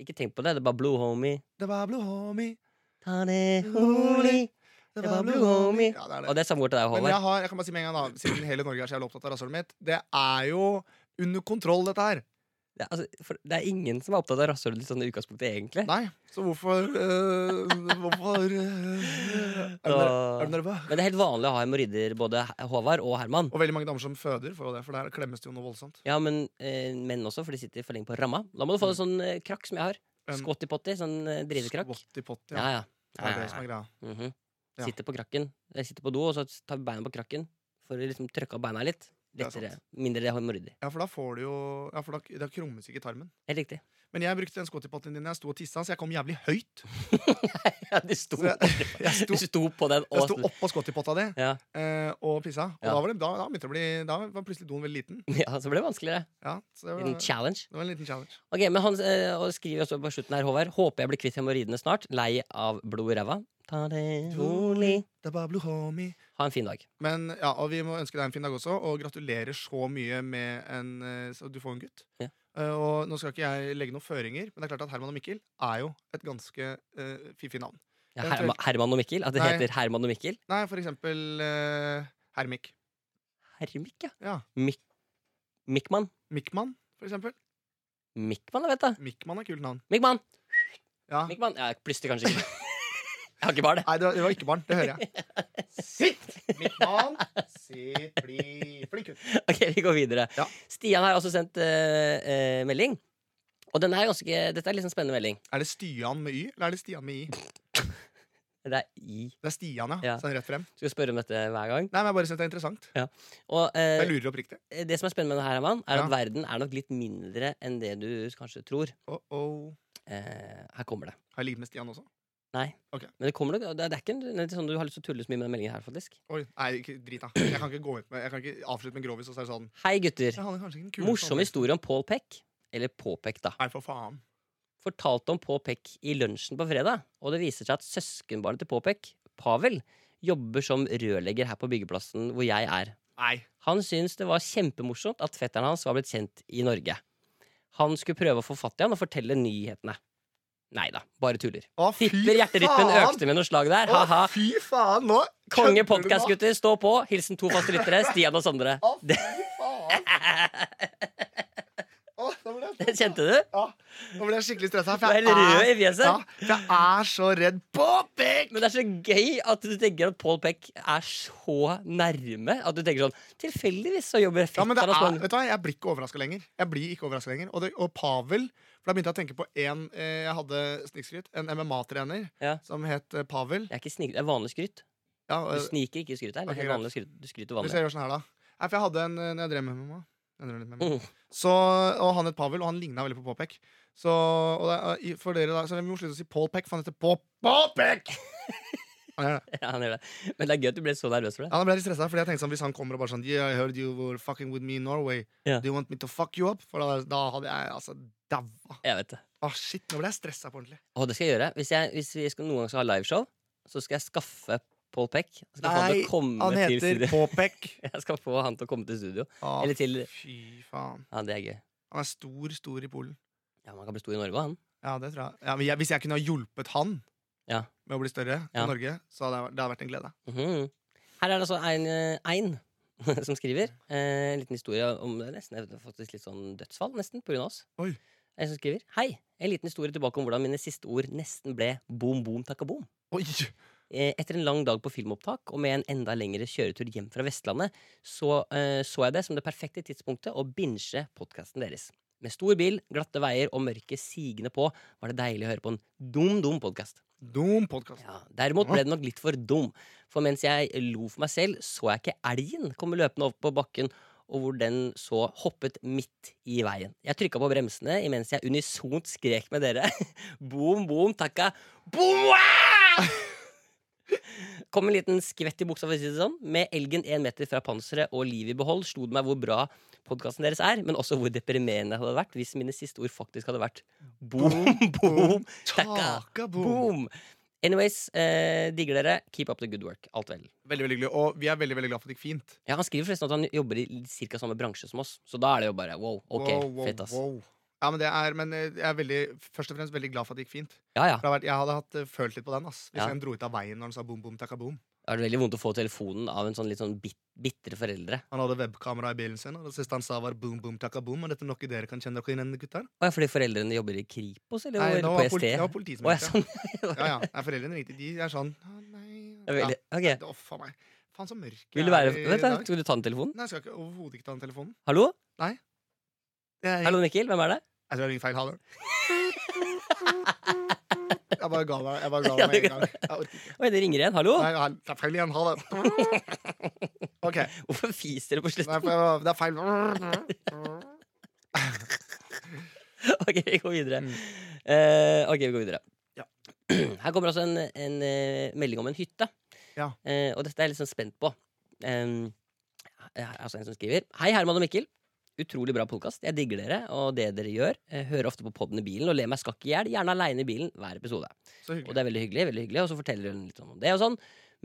B: Ikke tenk på det. Det er bare blod, homie.
D: Det var blue homie.
B: Ta det rolig. Det var blue homie.
D: Ja, det er det.
B: Og det er samme ord til deg,
D: Men jeg,
B: Håvard.
D: har, jeg kan bare si med en gang da Siden hele Norge er så jævlig opptatt av rasshølet mitt Det er jo under kontroll dette her
B: Det er, altså, for, det er ingen som er opptatt av rasshølet ditt sånn i utgangspunktet, egentlig.
D: Nei, så hvorfor øh, Hvorfor øh, er, du nerv-
B: Så-
D: er du nervøs?
B: Men det er helt vanlig å ha hemoroider, både H- Håvard og Herman.
D: Og veldig mange damer som føder får jo det For der klemmes det jo noe voldsomt
B: Ja, men eh, menn også, for de sitter for lenge på ramma. Da må du få en sånn eh, krakk som jeg har.
D: Mm. En-
B: Scotty potty, sånn eh, dritekrakk.
D: Squatty-potty,
B: Ja,
D: ja.
B: ja.
D: Det er det som er greia
B: Mhm.
D: Ja.
B: Sitter på krakken. Jeg sitter på do, og så tar vi beina på krakken for å liksom trykke opp beina litt.
D: Det er
B: Lettere.
D: sant.
B: Mindre hemoroider.
D: Ja, for da får du jo Ja, for da, da krommes ikke tarmen
B: Helt riktig.
D: Men jeg brukte den squatty-potten din når jeg sto og tisset Så jeg kom jævlig høyt
B: Ja, de sto,
D: Så jeg, jeg sto
B: du sto på den
D: jeg
B: og
D: sto oppå skottipotta di
B: Ja.
D: eh, og pissa. Og
B: Ja.
D: da, var det, da, da, begynte det å bli, da var plutselig doen veldig liten.
B: Ja, så ble det vanskeligere.
D: Ja, så det var,
B: En challenge.
D: det var en liten challenge.
B: Ok, men Han eh, og skriver også på slutten her, Håvard. Håper jeg blir kvitt hemoroidene snart. Lei av blod i ræva. Ta det rolig.
D: Det var blue homie.
B: Ha en fin dag.
D: Men, ja, og vi må ønske deg en fin dag også, og gratulerer så mye med en eh, Så du får en gutt.
B: Ja.
D: Eh, og nå skal ikke jeg legge noen føringer, men det er klart at Herman og Mikkel er jo et ganske uh, fiffig navn.
B: Ja,
D: Eventuelt-
B: Herma, Herman og Mikkel? At det
D: Nei.
B: heter Herman og Mikkel?
D: Nei, for eksempel eh, Hermik.
B: Hermik, ja.
D: Ja.
B: Mik Mikman.
D: Mikman, for eksempel.
B: Mikman, jeg vet det.
D: Mikman er kult navn.
B: Mikman!
D: Ja.
B: Mikman. Ja, jeg plystrer kanskje ikke. Jeg har ikke bare det.
D: Nei, det var, det var ikke barn. Det hører jeg. Sitt, Mikman. Sitt, bli flink gutt.
B: Ok, vi går videre.
D: Ja.
B: Stian har også sendt eh, eh, melding. Og den er ganske, dette er litt sånn spennende melding.
D: Er det Stian med Y, eller er det Stian med I?
B: Det er I.
D: Det er Stian, ja.
B: Ja.
D: Sånn rett frem.
B: Skal vi spørre om dette hver gang?
D: Nei, men jeg bare synes det er interessant.
B: Og eh,
D: Jeg lurer oppriktig.
B: det som er spennende med det her, Herman, er
D: Ja.
B: at verden er nok litt mindre enn det du kanskje tror.
D: Oh, oh.
B: Eh, her kommer det.
D: Har jeg ligget med Stian også?
B: Men det kommer nok, det er det er ikke en- det er sånn du har lyst til å tulle så mye med den meldingen her, faktisk.
D: Oi, nei, ikke, drit da. Jeg kan ikke, gå ut med, jeg kan ikke avslutte med en grovis og så er det sånn
B: Hei, gutter.
D: Jeg hadde kanskje ikke den kuleste
B: Morsom
D: anmeldelsen.
B: historie om Paul Peck. Eller Påpek, da.
D: Nei, for faen.
B: Fortalte om Paul Peck i lunsjen på fredag, og det viser seg at søskenbarnet til Påpek, Pavel, jobber som rørlegger her på byggeplassen hvor jeg er.
D: Nei.
B: Han syntes det var kjempemorsomt at fetteren hans var blitt kjent i Norge. Han skulle prøve å få fatt i han og fortelle nyhetene. Nei da, bare tuller.
D: Å, fy
B: Tipper hjerterytmen
D: faen!
B: økte med noen slag der.
D: Å,
B: Ha-ha.
D: fy faen, nå
B: Konge
D: kødder du
B: podcast,
D: nå.
B: gutter Stå på. Hilsen to faste lyttere. Stian og Sondre.
D: Å, fy faen. Å, nå ble jeg,
B: Den kjente du?
D: ja, nå ble jeg skikkelig stressa.
B: Du er helt rød i fjeset.
D: ja, for jeg er så redd på pikk!
B: Men det er så gøy at du tenker at Paul Peck er så nærme. At du tenker sånn Tilfeldigvis så jobber
D: Ja, men det
B: fetteren
D: er,
B: hans
D: vet du hva, Jeg blir ikke overraska lenger. Jeg blir ikke overrasket lenger Og, det, og Pavel For Da begynte jeg å tenke på en eh, jeg hadde snikskryt. En MMA-trener
B: Ja.
D: som het eh, Pavel.
B: Det er ikke snik, det er vanlig skryt.
D: Ja,
B: Du
D: eh,
B: sniker ikke skryt her. Det
D: ok,
B: er helt
D: greit.
B: vanlig skryt. Du skryter
D: Hvis
B: vanlig.
D: jeg gjør sånn her, da. Nei, for jeg hadde en eh, når jeg drev med MMA. Jeg drev litt med MMA.
B: Mm.
D: Så, og han het Pavel, og han ligna veldig på Påpek. Så, og det, er- i- for dere da, så vi må slutte å si Pålpek, for han heter På- Påpek! Han gjør det.
B: Ja, han gjør det. Men det er gøy at du ble så nervøs for det.
D: Ja, da ble jeg litt stressa, fordi jeg tenkte sånn, hvis han kommer og bare sånn Yeah, I heard you were fucking with me in Norway.
B: Ja.
D: Do you want me to fuck you up? For da, da hadde jeg altså daua.
B: Jeg vet det.
D: Ah, shit, nå ble jeg stressa på ordentlig.
B: Å, det skal jeg gjøre. Hvis, jeg, hvis vi skal, noen gang skal ha liveshow, så skal jeg skaffe Paul Peck. Jeg Skal få han, til å komme
D: han
B: til
D: heter
B: studio.
D: Påpek.
B: Jeg skal få han til å komme til studio.
D: Ah,
B: Eller til-
D: Fy faen.
B: Ja, det er gøy.
D: Han er stor, stor i Polen.
B: Ja, Man kan bli stor i Norge òg, han.
D: Ja, det tror jeg. Ja, men jeg, hvis jeg kunne ha hjulpet han
B: Ja.
D: med å bli større
B: Ja.
D: i Norge, så hadde jeg- det hadde vært en glede.
B: Mhm. Her er det altså Ein, eh, Ein som skriver. Eh, en liten historie om det er nesten jeg vet, faktisk litt sånn dødsfall, nesten, på grunn av oss.
D: Oi.
B: En som skriver. Hei! En liten historie tilbake om hvordan mine siste ord nesten ble boom, boom, takka boom.
D: Oi!
B: Eh, Etter en lang dag på filmopptak og med en enda lengre kjøretur hjem fra Vestlandet, så eh, så jeg det som det perfekte tidspunktet å binge podkasten deres. Med stor bil, glatte veier og mørket sigende på var det deilig å høre på en dum, dum podkast.
D: Dum podkast.
B: Ja, derimot ble den nok litt for dum, for mens jeg lo for meg selv, så jeg ikke elgen komme løpende opp på bakken, og hvor den så hoppet midt i veien. Jeg trykka på bremsene imens jeg unisont skrek med dere. Boom, boom, takka. Boom! wah! Kom en liten skvett i buksa, for å si det sånn. Med elgen én meter fra panseret og livet i behold slo det meg hvor bra podkasten deres er, men også hvor deprimerende det hadde vært hvis mine siste ord faktisk hadde vært boom, boom, takka.
D: Taka boom.
B: Boom! Anyways, eh, digger dere. Keep up the good work. Alt vel.
D: Veldig, veldig hyggelig. Og vi er veldig veldig glad for at det gikk fint.
B: Ja, Han skriver forresten at han jobber i cirka samme bransje som oss, så da er det jo bare wow. Ok,
D: Wow, wow,
B: fett, ass.
D: wow. Ja, men, det er, men eh, jeg er veldig, først og fremst veldig glad for at det gikk fint.
B: Ja, ja.
D: For det har vært, jeg hadde hatt eh, følt litt på den ass hvis
B: Ja.
D: en dro ut av veien når han sa boom, boom, takka boom.
B: Det er veldig vondt å få telefonen av en sånn litt sånn bit bitre foreldre.
D: Han hadde webkamera i bilen sin, og det siste han sa, var boom, boom, takka boom. Og dette er noe dere kan kjenne dere igjen, gutter.
B: Å, ja, fordi foreldrene jobber i Kripos, eller
D: Nei, det
B: hvor?
D: var,
B: på
D: politi,
B: ST?
D: det var politiet som
B: Å, ja,
D: ringte.
B: sånn.
D: Ja, ja. Nei, foreldrene ringte. De er sånn «Å, Nei.
B: Det er veldig,
D: Ja.
B: ok.
D: Det- Å, faen meg. Faen så mørk jeg
B: Vil du være
D: er i
B: Vent, da.
D: dag.
B: Skal du ta den telefonen?
D: Nei, jeg skal ikke, overhodet ikke ta den telefonen.
B: Hallo?
D: Jeg,
B: Hallo, Mikkel. Hvem er det?
D: jeg tror jeg ringer feil. Ha det. Jeg bare ga meg jeg bare ga
B: Ja, du
D: meg med
B: ga
D: en gang. Jeg orker ikke.
B: Oi, det ringer igjen. Hallo?
D: Nei, jeg har- det er feil igjen. Ha det. OK.
B: Hvorfor fiser dere på
D: Nei,
B: slutten?
D: for det er feil.
B: Ok, vi går videre.
D: Mm.
B: Eh, ok, vi går videre.
D: Ja.
B: Her kommer også en, en eh, melding om en hytte.
D: Ja.
B: Eh, og dette er jeg litt sånn spent på. Um, her er altså en som skriver Hei, Herman og Mikkel. Utrolig bra podkast. Jeg digger dere og det dere gjør. Jeg hører ofte på podden i bilen og ler meg skakk i hjel, gjerne aleine i bilen hver episode. Og
D: Så hyggelig.
B: det er veldig hyggelig, veldig hyggelig Og så forteller hun litt sånn om det og sånn.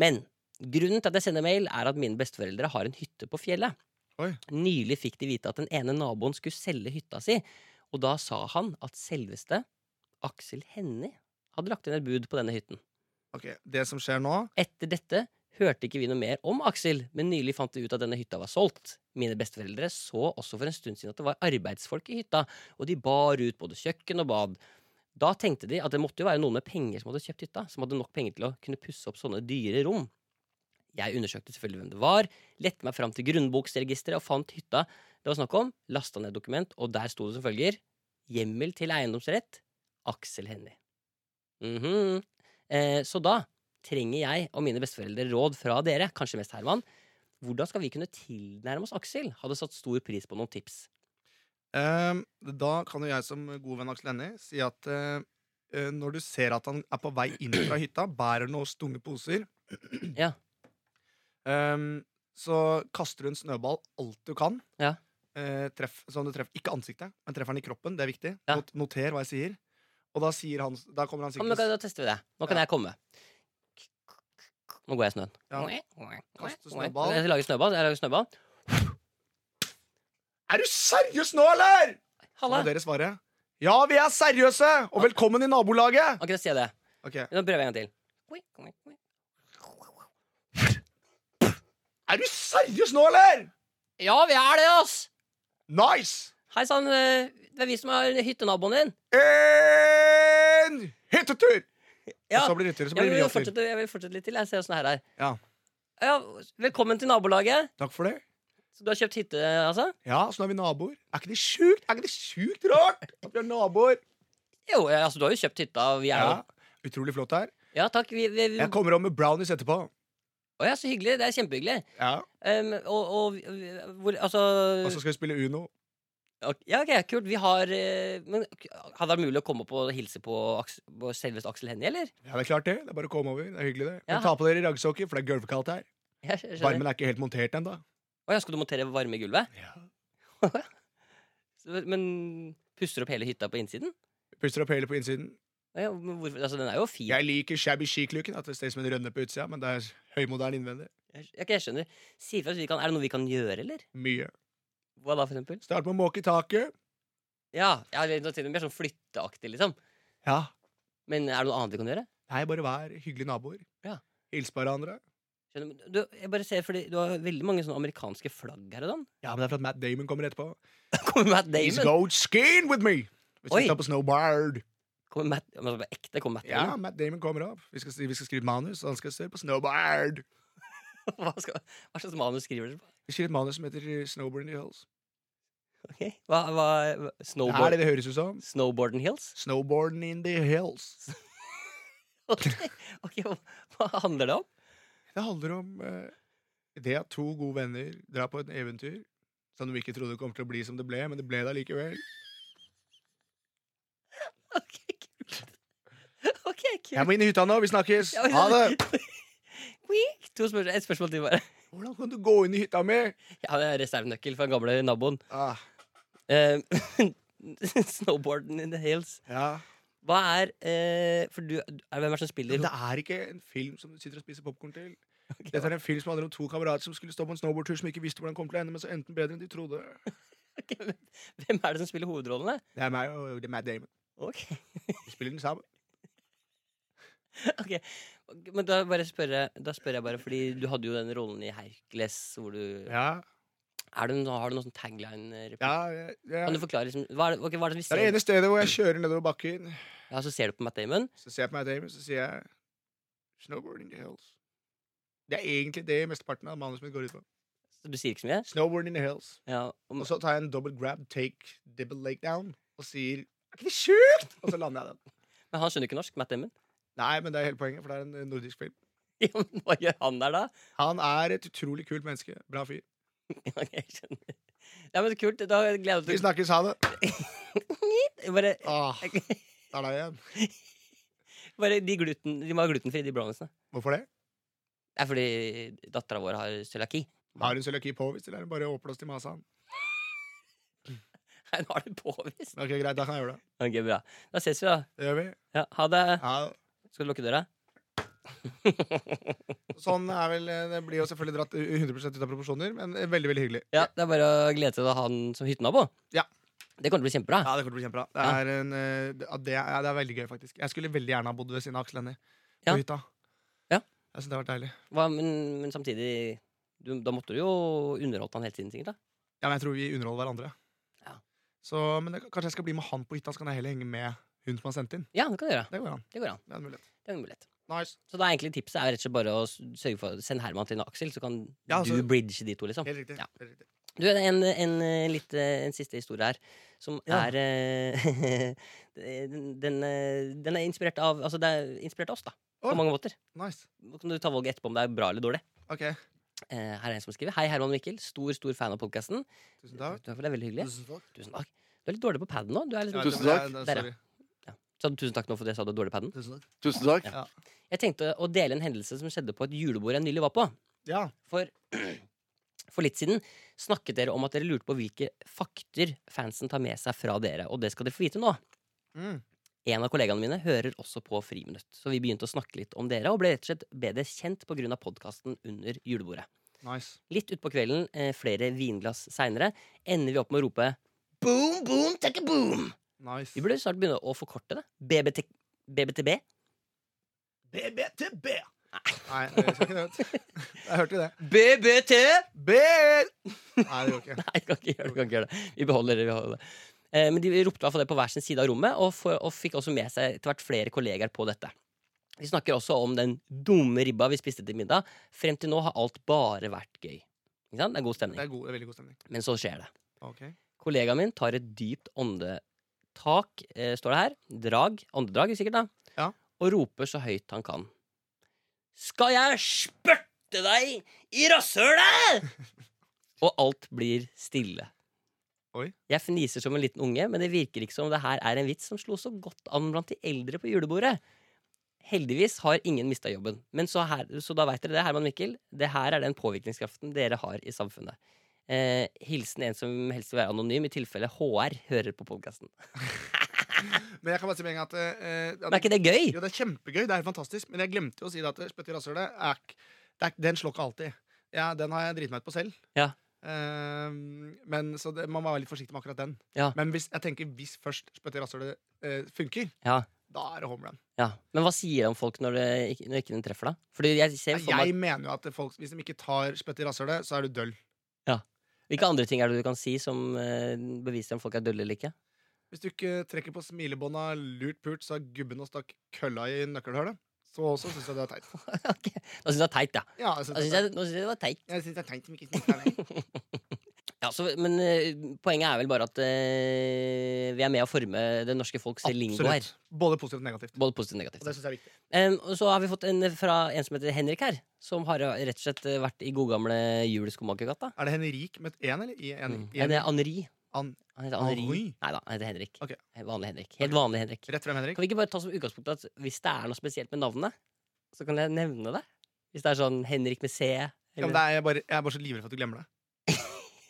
B: Men Grunnen til at jeg sender mail, er at mine besteforeldre har en hytte på fjellet.
D: Oi.
B: Nylig fikk de vite at den ene naboen skulle selge hytta si, og da sa han at selveste Aksel Hennie hadde lagt inn et bud på denne hytten.
D: Ok, Det som skjer nå
B: Etter dette hørte ikke vi noe mer om Aksel, men nylig fant vi ut at denne hytta var solgt. Mine besteforeldre så også for en stund siden at det var arbeidsfolk i hytta, og de bar ut både kjøkken og bad. Da tenkte de at det måtte jo være noen med penger som hadde kjøpt hytta, som hadde nok penger til å kunne pusse opp sånne dyre rom. Jeg undersøkte selvfølgelig hvem det var, lette meg fram til grunnboksregisteret og fant hytta det var snakk om, lasta ned dokument, og der sto det som følger Hjemmel til eiendomsrett Aksel Hennie. Mhm. eh, så da trenger jeg og mine besteforeldre råd fra dere, kanskje mest Herman. Hvordan skal vi kunne tilnærme oss Aksel? Hadde satt stor pris på noen tips.
D: Ehm, Da kan jo jeg som god venn Aksel Hennie si at eh, eh, når du ser at han er på vei inn fra hytta, bærer noen stunge poser
B: Ja.
D: ehm, Så kaster du en snøball alt du kan.
B: Ja.
D: Eh, treff, sånn du treffer, ikke ansiktet, men treffer han i kroppen. Det er viktig.
B: Ja.
D: Not, noter hva jeg sier. Og da, sier han, da kommer han
B: Ja, men
D: sikkert til
B: da tester vi det. Nå kan
D: Ja.
B: jeg komme. Nå går jeg i snøen.
D: Ja. Kaste snøball.
B: Jeg lager snøball. Jeg lager snøball.
D: å- Er du seriøs nå, eller?! Så må
B: Halla!
D: dere svare. Ja, vi er seriøse! Og velkommen i nabolaget!
B: Ok, da sier jeg det.
D: Ok,
B: Nå prøver jeg en gang til.
D: Er du seriøs nå, eller?!
B: Ja, vi er det, ass!
D: Nice!
B: Hei sann, eh, det er vi som er hyttenaboen din.
D: En hyttetur!
B: Ja,
D: Og så blir det hyttetur,
B: jeg
D: så blir
B: vil,
D: det jatur.
B: fortsette, jeg vil fortsette litt til. Jeg ser åssen det her er.
D: Ja.
B: ja, velkommen til nabolaget.
D: Takk for det.
B: Så du har kjøpt hytte, altså?
D: Ja, så nå er vi naboer. Er ikke det sjukt? Er ikke det sjukt rart at vi er naboer?
B: Jo, eh, altså, du har jo kjøpt hytta. og Vi er jo
D: Ja, Utrolig flott her.
B: Ja, takk. Vi, vi, vi...
D: Jeg kommer om med brownies etterpå.
B: Å ja, så hyggelig. Det er kjempehyggelig.
D: Ja,
B: Um, og og vi- vi- hvor Altså
D: Og så skal vi spille Uno.
B: ok- Ja, ok, kult. Vi har eh, Men ok, hadde det vært mulig å komme opp og hilse på, Aks- på selveste Aksel Hennie, eller?
D: Ja, det er klart det. Det er bare å komme over. Det er hyggelig, det.
B: Ja.
D: Men ta på dere raggsokker, for det er gulvkaldt her.
B: Jeg skj- skjønner.
D: Varmen er ikke helt montert ennå.
B: Å ja, skal du montere varme i gulvet?
D: Ja.
B: Så- Men pusser opp hele hytta på innsiden?
D: Puster opp hele på innsiden.
B: Å Ja, men hvorfor? Altså, den er jo fin.
D: Jeg liker shabby chic-looken. At det ser ut som en rønne på utsida, men det er høymoderne innvendig.
B: Jeg, skj- ok, jeg skjønner. Si ifra hvis vi kan Er det noe vi kan gjøre, eller?
D: Mye.
B: Hva da, for eksempel?
D: Start med å måke taket.
B: Ja, ja det er til og med mer sånn flytteaktig, liksom.
D: Ja.
B: Men er det noe annet vi kan gjøre?
D: Nei, bare vær hyggelige naboer.
B: Ja.
D: Hils på hverandre.
B: Skjønner, men du, jeg bare ser, fordi du har veldig mange sånne amerikanske flagg her og sånn.
D: Ja, men det er for at Matt Damon kommer etterpå.
B: Kommer Matt
D: He's
B: Damon?
D: goat skin with me! Vi
B: Oi.
D: skal ta på Snowboard.
B: Kommer Matt, men altså, på ekte kommer Matt
D: Ja,
B: Damon?
D: Matt Damon kommer opp. Vi skal, vi skal skrive et manus, og han skal se på Snowboard.
B: Hva, skal, hva slags manus skriver dere på?
D: Vi skriver et manus som heter eh, Snowboard in the Hills.
B: Ok, Hva, hva, hva-
D: Det er
B: snowboard,
D: det det høres ut som.
B: Snowboarden Hills?
D: Snowboarding in the hills.
B: Ok, ok, hva- hva handler det om?
D: Det handler om eh, det at to gode venner drar på et eventyr som de ikke trodde kom til å bli som det ble, men det ble det allikevel.
B: Ok, kult. Ok,
D: Jeg
B: kult.
D: må inn i hytta nå, vi snakkes!
B: Ja, men-
D: Ha det!
B: Wink! To spørsmål, et spørsmål til bare.
D: Hvordan kan du gå inn i hytta mi?
B: Jeg har en reservenøkkel fra den gamle naboen.
D: Ah,
B: Eh, snowboarden in the hills.
D: ja.
B: Hva er eh, For du, er, hvem er det som spiller?
D: Men det er ikke en film som du sitter og spiser popkorn til. Dette er en film som handler om to kamerater som skulle stå på en snowboardtur som ikke visste hvordan den kom til å ende, men så endte den bedre enn de trodde.
B: Ok, men Hvem er det som spiller hovedrollene?
D: Det er meg og det er Matt Damon.
B: Ok,
D: Vi spiller den sammen.
B: ok. Men da, bare spør jeg, da spør jeg bare, fordi du hadde jo den rollen i Hercules hvor du
D: Ja,
B: Er det, noe- Har du noen sånn tagline?
D: ja, ja, ja.
B: Kan du forklare liksom, hva er det, ok, hva er det vi
D: Det er det
B: ser?
D: ene stedet hvor jeg kjører nedover bakken,
B: Ja, så ser du på Matt Damon?
D: så ser jeg på Matt Damon, så sier jeg Snowboard in the hills. Det er egentlig det mesteparten av manuset mitt går ut på.
B: Så du sier ikke så mye?
D: Snowboard in the hills.
B: Ja, om,
D: Og så tar jeg en double grab, take, double leg down, og sier Er ikke det sjukt?! Og så lander jeg den.
B: men han skjønner jo ikke norsk, Matt Damon.
D: Nei, men det er hele poenget, for det er en eh, nordisk film.
B: Ja, men Hva gjør han der da?
D: Han er et utrolig kult menneske. Bra fyr.
B: Ja, ok, jeg skjønner. Ja, men Kult. Da gleder
D: Vi
B: jeg meg
D: snakkes, ha det.
B: til bare,
D: Ah, der er det igjen.
B: bare de, gluten, de må ha glutenfri, de browniesene.
D: Hvorfor det?
B: Det er fordi dattera vår har cøliaki.
D: Har hun cøliaki påvist, eller er hun bare oppblåst i masen?
B: Nei, nå har det påvist.
D: Ok, greit, da kan jeg gjøre det.
B: Ok, bra. Da ses vi, da.
D: Det gjør vi.
B: Ja, ha det.
D: Ha det.
B: Skal du lukke døra?
D: Sånn er vel, Det blir jo selvfølgelig dratt 100 ut av proporsjoner, men eh, veldig veldig hyggelig.
B: Ja, Det er bare å glede seg til å ha den som hyttenabo.
D: Ja.
B: Det kommer til å bli kjempebra.
D: Ja, Det kommer til å bli kjempebra. Det
B: Ja.
D: er, en, eh, det, ja, det, er, det er veldig gøy, faktisk. Jeg skulle veldig gjerne ha bodd ved siden av Aksel Hennie på
B: Ja.
D: hytta.
B: Ja.
D: Jeg synes det har vært deilig.
B: Hva, men, men samtidig du, Da måtte du jo underholdt han hele tiden, sikkert. da
D: Ja, men Jeg tror vi underholder hverandre.
B: Ja.
D: Så, men det, Kanskje jeg skal bli med han på hytta, så kan jeg heller henge med hun som har sendt inn.
B: Ja, det kan du gjøre.
D: Det går an.
B: Det går an.
D: Det er en mulighet.
B: Det er en mulighet.
D: Nice.
B: Så da er egentlig tipset er rett og slett bare å s- sørge for å sende Herman til Aksel, så kan
D: Ja, altså-
B: du bridge de to, liksom.
D: Helt riktig.
B: Ja.
D: Helt riktig.
B: Du, det er en, en, eh, litt, eh, en siste historie her, som
D: Ja.
B: er eh, den, den, eh, den er inspirert av Altså, det er inspirert av oss, da. På
D: Oi.
B: mange måter.
D: nice.
B: Så kan du ta valget etterpå om det er bra eller dårlig.
D: Ok,
B: Eh, her er en som skriver. Hei, Herman og Mikkel. Stor, stor fan av podkasten.
D: tusen takk.
B: Det er veldig hyggelig.
D: Tusen takk.
B: Tusen takk. Du er litt dårlig på paden nå. Du er litt,
D: Ja,
F: Tusen
D: det- det-
F: takk.
B: Der, ja.
D: sorry.
B: Sa du tusen takk nå for det jeg sa du var dårlig på paden?
D: Tusen takk.
F: Tusen takk.
D: Ja.
B: Jeg tenkte å dele en hendelse som skjedde på et julebord jeg nylig var på.
D: Ja.
B: For, for litt siden snakket dere om at dere lurte på hvilke fakter fansen tar med seg fra dere, og det skal dere få vite nå.
D: Mm.
B: En av kollegaene mine hører også på Friminutt, så vi begynte å snakke litt om dere og ble rett og slett bedre kjent pga. podkasten under julebordet.
D: Nice.
B: Litt utpå kvelden, eh, flere vinglass seinere, ender vi opp med å rope boom, boom, takka boom!
D: Nice.
B: Vi burde snart begynne å forkorte det. BBT, BBTB.
D: BBTB! Nei, jeg skal ikke det. vet du. Jeg hørte jo det.
B: BBT!
D: BL! Nei, det går ikke.
B: Nei, kan ikke gjøre det. kan ikke gjøre det Vi beholder det. vi beholder det Eh, Men de ropte i hvert fall det på hver sin side av rommet, og, for, og fikk også med seg etter hvert flere kollegaer på dette. Vi snakker også om den dumme ribba vi spiste til middag. Frem til nå har alt bare vært gøy. Ikke sant? Det er god
D: Det
B: stemning.
D: er god, det er veldig god stemning.
B: Men så skjer det.
D: Ok.
B: Kollegaen min tar et dypt åndetak, eh, står det her. Drag. Åndedrag, sikkert, da.
D: Ja.
B: Og roper så høyt han kan. Skal jeg spytte deg i rasshølet?! og alt blir stille.
D: Oi.
B: Jeg fniser som en liten unge, men det virker ikke som om det her er en vits som slo så godt an blant de eldre på julebordet. Heldigvis har ingen mista jobben. Men så, her, så da veit dere det, Herman Mikkel. Det her er den påvirkningskraften dere har i samfunnet. Eh, hilsen en som helst vil være anonym, i tilfelle HR hører på podkasten.
D: Men jeg kan bare si med en gang at, eh, at
B: Men er ikke det gøy?
D: Jo, det er kjempegøy, det er fantastisk, men jeg glemte jo å si det at spytte i rasshølet er ikk- det er ikk- Den slår ikke alltid. Ja, den har jeg driti meg ut på selv.
B: Ja.
D: Eh, men så det, Man må være litt forsiktig med akkurat den.
B: Ja.
D: Men hvis, jeg tenker, hvis først spytte i rasshølet eh, funker,
B: Ja.
D: da er det home run.
B: Ja. Men hva sier det om folk når, det, ikke- når ikke den treffer, da? Fordi jeg ser for meg
D: Jeg mener jo at folk, hvis de ikke tar spytt i rasshølet, så er du døll.
B: Hvilke andre ting er det du kan si som eh, beviser om folk er dølle eller ikke?
D: Hvis du ikke trekker på smilebånda lurt pult, sa gubben og stakk kølla i nøkkelhullet, så også syns jeg det er teit.
B: Ok. Da syns jeg det er teit, ja.
D: Ja, jeg
B: Da
D: synes
B: synes
D: det er teit.
B: jeg, nå synes jeg det var teit.
D: Altså, Jeg syns det er teit som ikke smitter deg.
B: Ja, så, men eh, poenget er vel bare at eh, vi er med å forme det norske folks lingo her.
D: Absolutt. Både positivt og negativt.
B: Både positivt og negativt.
D: Og det syns jeg er viktig.
B: Em, og så har vi fått en fra en som heter Henrik her, som har eh, rett og slett vært i godgamle Jul i Skomakergata.
D: Er det Henrik med et én, eller? I en, i
B: Ja,
D: Mm. en,
B: Mm. det er Anri.
D: an,
B: Han heter Anri.
D: Henri?
B: Nei da, han heter Henrik.
D: Ok.
B: Helt Vanlig Henrik. Helt vanlig Henrik.
D: rett frem, Henrik.
B: Kan vi ikke bare ta som utgangspunkt at hvis det er noe spesielt med navnet, så kan jeg nevne det? Hvis det er sånn Henrik med C
D: Ja,
B: eller
D: men det er jeg, bare, jeg er bare så livredd for at du glemmer det.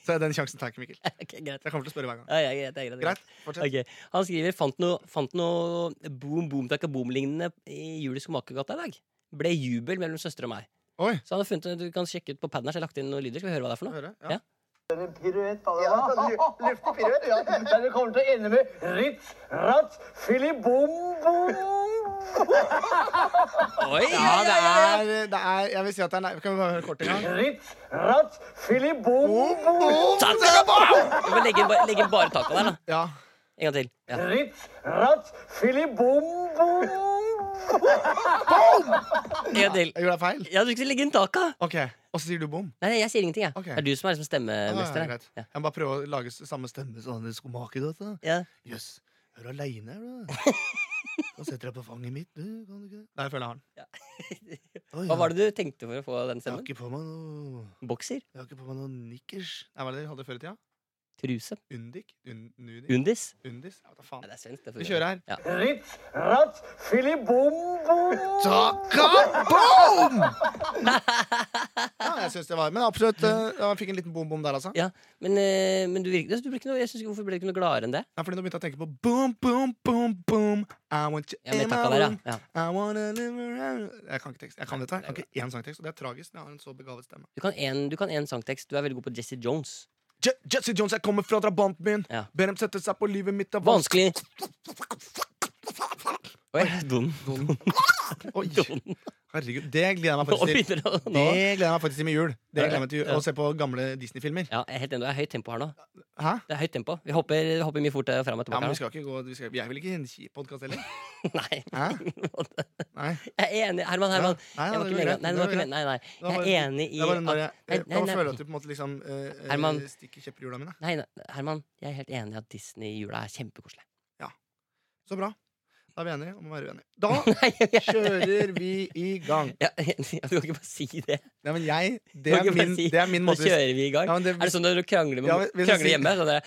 D: Så den sjansen tar jeg ikke, Mikkel.
B: Ok, greit.
D: Jeg kommer til å spørre hver gang.
B: Ja, ja, greit, det er greit, det er greit.
D: Greit? Fortsett.
B: Ok. Han skriver fant noe, fant noe boom boom takka boom-lignende i Jul i Skomakergata i dag. Ble jubel mellom søstre og meg.
D: Oi.
B: Så han har funnet, du kan sjekke ut på paden her, så jeg har lagt inn noen lyder. Skal vi høre hva det er for noe?
D: Hører,
B: Ja.
D: ja.
G: Dere kommer til å ende med ritt, ratt, filibom-bom.
B: Oi,
D: Ja, det er, det er Jeg vil si at det er nei, Kan vi bare høre kort en gang?
G: Ritt, ratt, filibom-bom.
B: Du må legge inn, ba- legge inn bare taka der, da.
D: Ja.
B: En gang til. Ja.
G: Ritt, ratt, filibom-bom.
B: En gang til.
D: Jeg gjorde deg feil?
B: Ja, du skulle legge inn taka!
D: OK. Og så sier du bom.
B: Nei, jeg sier ingenting, jeg.
D: Ok.
B: Det er du som er liksom
D: Ja, ja,
B: stemmemester.
D: greit.
B: Ja,
D: Jeg må bare prøve å lage s- samme stemme som han skomaker. Jøss,
B: ja.
D: yes. er du aleine her, du? Kan sette deg på fanget mitt, du. Kan du ikke det? Nei, jeg føler jeg har den. Oi,
B: Hva var det du tenkte for å få den
D: Jeg har
B: stemmen?
D: ikke på meg noe
B: Bokser?
D: Jeg har ikke på meg noe nikkers. Nei, hva er det de hadde før i tida?
B: Truse?
D: Undik? Un, nudik?
B: Undis?
D: Undis? Ja, hva
B: Nei,
D: faen.
B: det er svensk. det
D: Vi
B: fungerer.
D: kjører her.
B: Ja.
G: Ritt, ratt, filibom-bom.
D: Taka boom! Ja, jeg jeg synes det var Men absolutt, eh, jeg fikk en liten bom-bom der, altså.
B: Ja, men, eh, men du virker, du ble ikke noe, jeg synes ikke, hvorfor ble du ikke noe gladere enn det?
D: Ja, fordi nå begynte jeg å tenke på boom, boom, boom, boom. I want you
B: Ja, med
D: in my
B: takka der, ja.
D: room.
B: ja.
D: I wanna live around Jeg kan ikke tekst. Jeg kan dette. her. Jeg kan ikke én sangtekst, og det er tragisk. når Jeg har en så begavet stemme.
B: Du kan en, du kan en sangtekst. Du er veldig god på Jesse Jones.
D: Je Jesse Jones, jeg kommer fra drabanten min.
B: Ja.
D: Ber dem sette seg på livet mitt. det er
B: Vanskelig. Oi, dum.
D: vanskelig. Oi. Herregud, det gleder jeg
B: Nå
D: meg faktisk til.
B: begynner det å
D: Det
B: nå.
D: gleder jeg meg faktisk til med jul. Det gleder jeg meg til
B: Ja.
D: Å se på gamle Disney-filmer.
B: Ja, jeg er helt enig. Det er høyt tempo her nå.
D: Hæ?
B: Det er høyt tempo. Vi hopper, vi hopper mye fort eh, frem og
D: Ja,
B: tilbake.
D: men vi
B: her
D: skal ikke gå vi skal, Jeg vil ikke gi podkast heller.
B: nå. Nei.
D: Hæ? Nei.
B: Jeg er enig. Herman,
D: Ja.
B: Herman. Jeg
D: Nei, nei,
B: var
D: det
B: ikke
D: går
B: meningen.
D: greit.
B: Nei, det
D: Det
B: var ikke
D: går greit.
B: meningen. Nei, nei.
D: Det var
B: Jeg
D: bare-
B: er enig i
D: Det er bare når jeg, jeg,
B: nei, nei,
D: bare føler
B: nei.
D: at du på en måte liksom eh, eh,
B: Herman.
D: stikker kjepper i hjula mine.
B: Nei, nei, Herman, jeg er helt enig i at Disney i jula er kjempekoselig.
D: Så bra. Da er vi enige om å være uenige. Da
B: Nei, jeg-
D: kjører vi i gang.
B: Ja, ja, du kan ikke bare si det.
D: Nei, men jeg Det
B: Kan
D: er
B: ikke bare
D: min,
B: si,
D: det er min
B: Nå
D: måte
B: kjører vi i gang.
D: ja, men det,
B: Er det sånn når du krangler, med,
D: Ja, men hvis jeg
B: krangler
D: sier-
B: hjemme? Sånn der,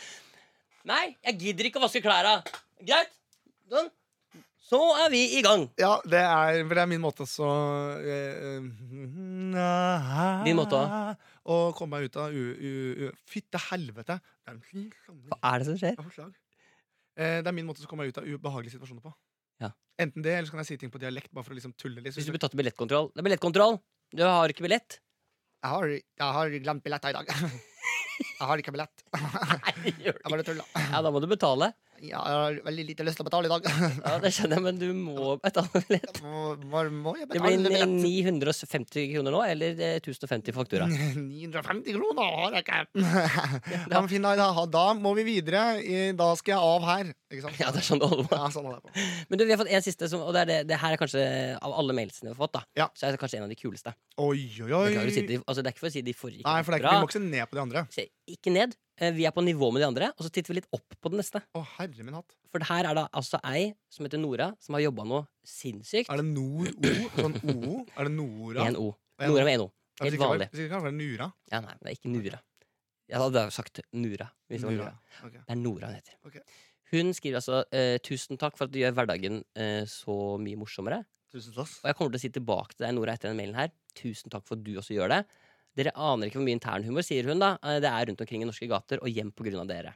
B: Nei, jeg gidder ikke å vaske klærne. Greit. Sånn. Så er vi i gang.
D: ja, det er vel det er min måte så eh,
B: Din
D: Din
B: måte også.
D: Å komme meg ut av u... u, u Fytte helvete! Det er en fin samling.
B: Hva er det som skjer?
D: av slag. Eh, Det er min måte å komme meg ut av ubehagelige situasjoner på.
B: Ja.
D: Enten det, eller så kan jeg si ting på dialekt. Bare for å liksom tulle litt
B: Hvis du blir tatt i billettkontroll Det er billettkontroll. Du har ikke billett.
D: jeg, har, jeg har glemt billetta i dag. Jeg har ikke billett.
B: Nei, det gjør du
D: Jeg
B: ikke.
D: bare tulla.
B: Ja, da må du betale.
D: Jeg har veldig lite lyst til å betale i dag.
B: Ja, Det skjønner jeg, men du må betale billett.
D: Må, må, må jeg
B: Det
D: betale
B: blir
D: billett?
B: 950 kroner nå, eller eh, 1050 faktura.
D: Mm. 950 kroner har jeg ikke! ja, men fint, da, da, da må vi videre. I- Da skal jeg av her. Ikke sant?
B: Ja, det er sånn det holder på.
D: Ja, sånn holder jeg på.
B: Men du, vi har fått en siste, som, og det, er det, det her er kanskje av alle mailsene vi har fått, da.
D: Ja.
B: Så er det kanskje en av de kuleste.
D: Oi, oi, oi.
B: Beklager å si de, altså, det er ikke for å si de forrige.
D: Nei, for det er ikke, vi må ikke se ned på de andre.
B: Se, ikke ned. Eh, Vi er på nivå med de andre, og så titter vi litt opp på den neste.
D: Å, herre min hatt.
B: For her er det altså ei som heter Nora, som har jobba noe sinnssykt.
D: Er det Nord-O? Sånn O? Er det Nora?
B: Én O.
D: En
B: Nora med én O.
D: Ja, hvis
B: Helt
D: ikke var-
B: vanlig.
D: Hvis ikke kan det være Nura.
B: Ja, nei, men det er ikke Nura. Jeg hadde jo sagt Nura. Hvis det, var
D: Nura.
B: Nura.
D: Ok.
B: det er Nora hun heter.
D: Ok.
B: Hun skriver altså eh, 'Tusen takk for at du gjør hverdagen eh, så mye morsommere'.
D: Tusen takk.
B: Og jeg kommer til å si tilbake til deg, Nora, etter den mailen her. Tusen takk for at du også gjør det. Dere aner ikke hvor mye internhumor, sier hun, da. eh, Det er rundt omkring i norske gater, og hjem på grunn av dere.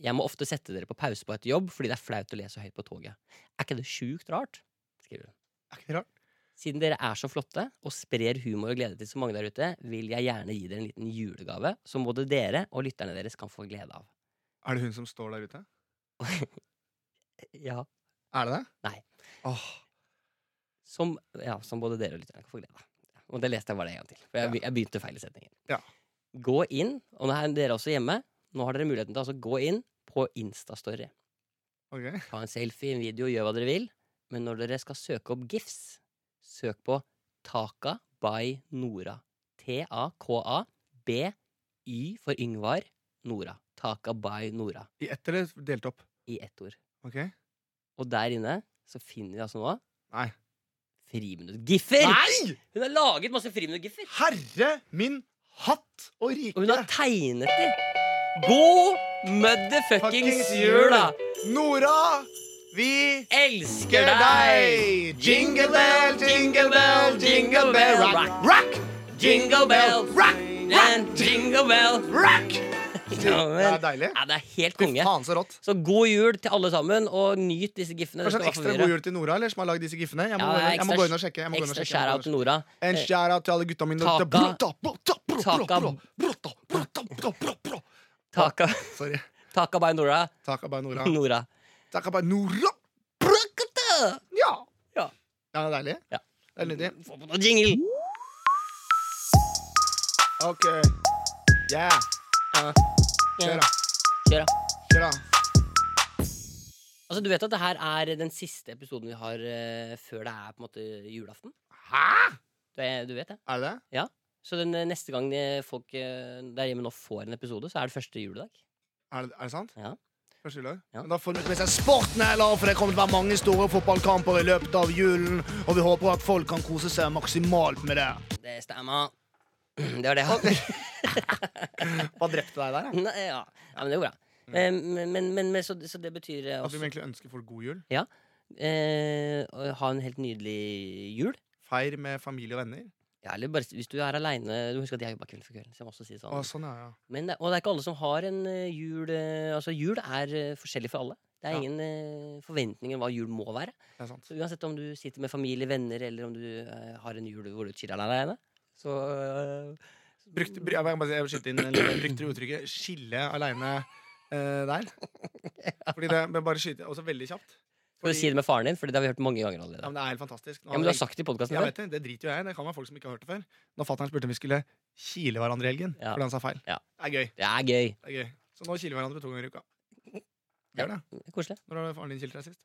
B: Jeg må ofte sette dere på pause på et jobb fordi det er flaut å lese høyt på toget. Er ikke det sjukt rart? skriver hun.
D: Er ikke det rart?
B: Siden dere er så flotte og sprer humor og glede til så mange der ute, vil jeg gjerne gi dere en liten julegave som både dere og lytterne deres kan få glede av.
D: Er det hun som står der ute?
B: Ja,
D: Er det det?
B: Nei.
D: Åh,
B: Som, ja, som både dere og lytterne kan få glede av. Og det leste jeg bare en gang til. For jeg, be- jeg begynte feil i setningen.
D: Ja.
B: Gå inn, og nå er dere også hjemme. Nå har dere muligheten til å altså, gå inn på Instastory.
D: ok.
B: Ta en selfie, en video, gjør hva dere vil. Men når dere skal søke opp GIFs, søk på Taka by Nora. T-A-K-A B-Y for Yngvar Nora. Taka by Nora.
D: I ett eller delt opp?
B: I ett ord.
D: Ok.
B: Og der inne så finner vi altså nå
D: Nei.
B: Friminutt-giffer!
D: Nei!
B: Hun har laget masse friminutt-giffer!
D: Herre min hatt og rike!
B: Og hun har tegnet dem. God motherfuckings jul, da!
D: Nora, vi
B: Elsker
D: elsker
B: deg!
D: deg! Jingle bell, jingle bell, jingle bell rock! Rock!
B: Jingle bell,
D: rock!
B: And jingle bell
D: Rock!
B: ja,
D: Det
B: men,
D: er deilig.
B: ja, Det er helt
D: Fy
B: konge.
D: faen, så rått.
B: Så god jul til alle sammen, og nyt disse giffene.
D: Kanskje en sånn ekstra god jul til Nora, eller, som har lagd disse giffene. Jeg må,
B: Ja,
D: gå inn- jeg må
B: ekstra-
D: gå inn og sjekke. Jeg må gå inn og
B: Ekstra
D: sjekke. Jeg må
B: skjæra
D: gå inn og sjekke.
B: til Nora. Eh,
D: En shout-out til alle gutta mine. der ute.
B: Taka-
D: Brutta, brutta, brutta,
B: Taka-
D: brutta, brutta, brutta, brutta, brutta, brutta.
B: Taka,
D: Sorry.
B: taka by Nora.
D: Taka bare Nora.
B: Nora.
D: Taka bare Nora!
B: Prakata!
D: Ja!
B: Ja.
D: Ja, det er deilig.
B: Ja.
D: Det er nydelig.
B: Få på noe jingle!
D: OK. Yeah. Uh, kjør, da.
B: Kjør, da.
D: Kjør, da.
B: Altså, du vet at det her er den siste episoden vi har eh, før det er på en måte julaften?
D: Hæ?
B: Du, er, du vet det?
D: Er det det?
B: Så den eh, neste gang eh, folk eh, der hjemme nå får en episode, så er det første juledag.
D: Er det, er det sant?
B: Ja.
D: Første juledag?
B: Ja.
D: Men Da får vi med seg sporten heller, for det kommer til å være mange store fotballkamper i løpet av julen. Og vi håper at folk kan kose seg maksimalt med det.
B: Det stemmer. Det var det jeg hadde.
D: Hva drepte deg der? da?
B: Nei, ja. ja, men det går bra. Eh, Men, men, men, men så, så det betyr eh,
D: At vi
B: også,
D: egentlig ønsker folk god jul.
B: eh, å ha en helt nydelig jul.
D: Feir med familie og venner.
B: Ja, eller bare hvis du er aleine Du må huske at jeg jobba Kvelden for kvelden. Så jeg må også si det sånn.
D: Å, sånn, ja, ja.
B: Men det, og det er ikke alle som har en eh, jul eh, Altså, jul er eh, forskjellig for alle. Det er
D: Ja.
B: ingen eh, forventninger om hva jul må være.
D: Det er sant.
B: Så uansett om du sitter med familie, venner, eller om du eh, har en jul hvor du chiller alene, så eh,
D: Brukte, br- jeg, må bare si- jeg vil skyte inn en liten- Brukte du uttrykket 'skille aleine' eh, der? Fordi det, men bare skyte også veldig kjapt.
B: Skal du si det med faren din? Fordi det har vi hørt mange ganger
D: Ja,
B: allerede.
D: men Det er helt fantastisk. Nå
B: Ja, men du har sagt det i podkasten
D: jeg
B: før.
D: vet det, det driter jo jeg i. Det kan være folk som ikke har hørt det før. Når fatter'n spurte om vi skulle kile hverandre i helgen
B: Ja.
D: fordi han sa feil.
B: Ja.
D: Det er gøy.
B: Det er gøy.
D: det er gøy Så nå kiler vi hverandre to ganger i uka. Gjør det.
B: Det er Koselig.
D: Når har faren din kilt deg sist?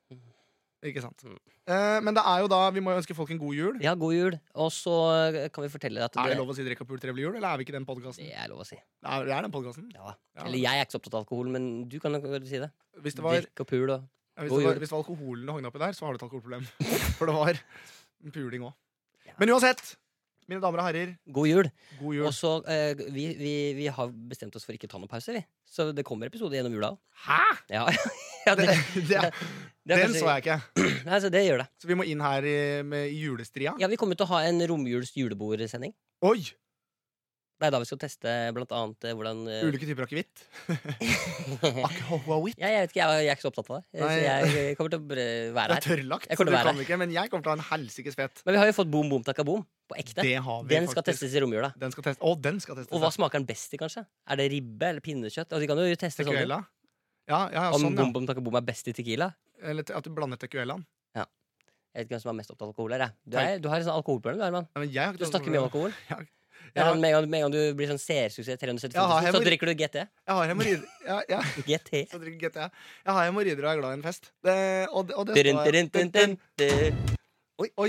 D: Ikke sant.
B: Mm.
D: Eh, men det er jo da vi må jo ønske folk en god jul.
B: Ja, god jul. Og så eh, kan vi fortelle at
D: Er det lov å si drikk og pul trevlig jul, eller er vi ikke den podkasten?
B: det er lov å si.
D: Det er, det er den podcasten.
B: Ja.
D: Ja.
B: Eller jeg er ikke så opptatt av alkohol, men du kan nok si det.
D: Hvis det var
B: Drikk og pul og
D: Ja, hvis,
B: God
D: det var,
B: jul.
D: hvis det var alkoholen det hang oppi der, så har du et alkoholproblem. For det var puling òg.
B: Ja.
D: Men uansett, mine damer og herrer,
B: God jul.
D: god jul.
B: Og så, eh, vi, vi, vi har bestemt oss for ikke å ta noen pause, vi. Så det kommer episode gjennom jula òg.
D: Hæ?!
B: Ja, ja,
D: Det,
B: det,
D: det,
B: det
D: er-
B: er
D: den
B: kanskje-
D: så jeg ikke.
B: Nei, så det gjør det.
D: Så vi må inn her i, med, i julestria.
B: Ja, Vi kommer til å ha en romjuls julebordsending.
D: Oi!
B: Det er da vi skal teste blant annet eh, hvordan eh,
D: Ulike typer akevitt. Akhowawitt.
B: ja, Jeg vet ikke, jeg, jeg er ikke så opptatt av det. Eh,
D: Nei.
B: Så jeg, jeg kommer til å bare
D: Det
B: være
D: er
B: her.
D: tørrlagt,
B: Jeg
D: så
B: kommer
D: du
B: til å være
D: kan ikke, men jeg kommer til å ha en helsikes fett.
B: Men vi har jo fått boom boom takka boom på ekte.
D: Det har vi
B: Den skal
D: faktisk.
B: testes i romjula.
D: Den skal testes. Å, den skal testes.
B: Og hva smaker den best i, kanskje? Er det ribbe eller pinnekjøtt? Altså, de kan jo teste sånn
D: Tequila? Ja, ja, ja,
B: Om
D: sånn,
B: boom
D: ja.
B: boom takka boom er best i tequila?
D: Eller te- at du blander tequilaen.
B: Jeg vet ikke hvem som er mest opptatt av alkohol her. jeg. Du, er, du har en sånn alkoholproblem, du, Herman.
D: Nei, men jeg har ikke
B: Du
D: tatt-
B: snakker mye om alkohol. Det
D: Jeg
B: er
D: har,
B: sånn, med, en gang, med en gang du blir sånn seersuksess, 375
D: Jeg
B: 000,
D: har
B: så
D: hemor-
B: drikker du GT.
D: jeg har hemoroider. Ja, ja.
B: GT.
D: Så drikker GTA. Jeg har hemoroider og er glad i en fest. Det, og, det- og det
B: Dun,
D: står
B: dun, dun, dun, dun.
D: Oi, oi!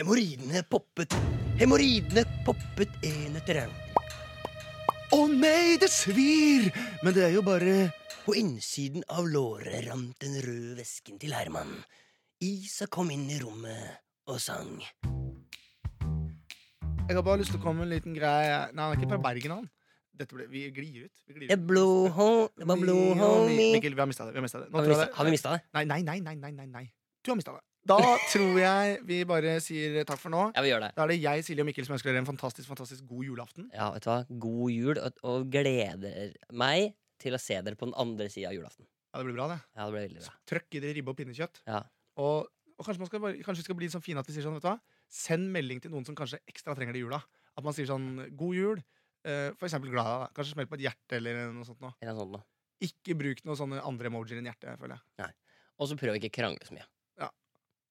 B: Hemoroidene poppet. Hemoroidene poppet en etter en.
D: Å nei, det svir! Men det er jo bare
B: På innsiden av låret rant den røde væsken til Herman. Isa kom inn i rommet og sang.
D: Jeg har bare lyst til å komme med en liten greie Nei, han er ikke fra Bergen, han. Dette ble, vi glir ut. Vi glir
B: Jeg
D: ut.
B: blå hå- jeg var blå homie.
D: Mikkel, vi har mista det. Vi har mistet det. Nå
B: Har vi
D: tror jeg
B: mistet-
D: det-
B: Har vi mista det?
D: Nei, nei, nei, nei, nei, nei, nei. Du har mista det. Da tror jeg vi bare sier takk for nå.
B: Ja, vi gjør det.
D: Da er det jeg, Silje og Mikkel som ønsker dere en fantastisk fantastisk god julaften.
B: Ja, vet du hva? God jul, og, og gleder meg til å se dere på den andre sida av julaften.
D: Ja, Det blir bra, det.
B: Ja, det ble veldig bra.
D: Trøkk i det ribbe og pinnekjøtt.
B: Ja.
D: Og, og kanskje, man skal bare, kanskje vi skal bli sånn fine at vi sier sånn, vet du hva Send melding til noen som kanskje ekstra trenger det i jula. At man sier sånn 'God jul', eh, for eksempel glad i deg. da. Kanskje smell på et hjerte eller noe sånt. Nå.
B: Eller sånn, noe sånt nå.
D: Ikke bruk noen sånne andre emojier enn hjerte, føler jeg.
B: Og så prøv å ikke krangle så mye.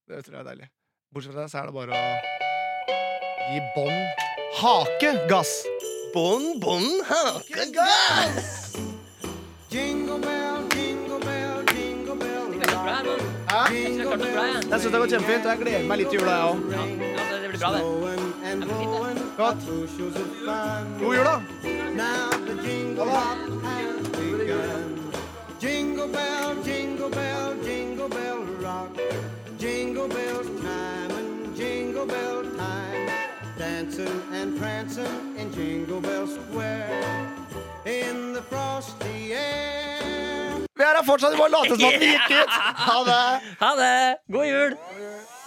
D: Det tror jeg er deilig. Bortsett fra det, så er det bare å gi bånn hake gass.
B: Bånn, bånn, hake, gass!
D: Jingle bell, jingle bell, jingle bell
B: Det er bra, Herman.
D: Hæ?
B: Jeg synes det har klart det bra, jeg.
D: Jeg syns det har gått kjempefint, og jeg gleder meg litt til jula, jeg òg.
B: Ja, ja, det blir bra, det. Ja, men fint, det.
D: Godt. God jul, da. Ha det.
F: Jingle bell, jingle bell, jingle bell rock. Jingle bell time and jingle bell time. Dancing and prancing in Jingle Bell Square. In the frosty air.
D: Vi er her fortsatt, vi bare later som at vi gikk ut. Ha det.
B: Ha det! God jul!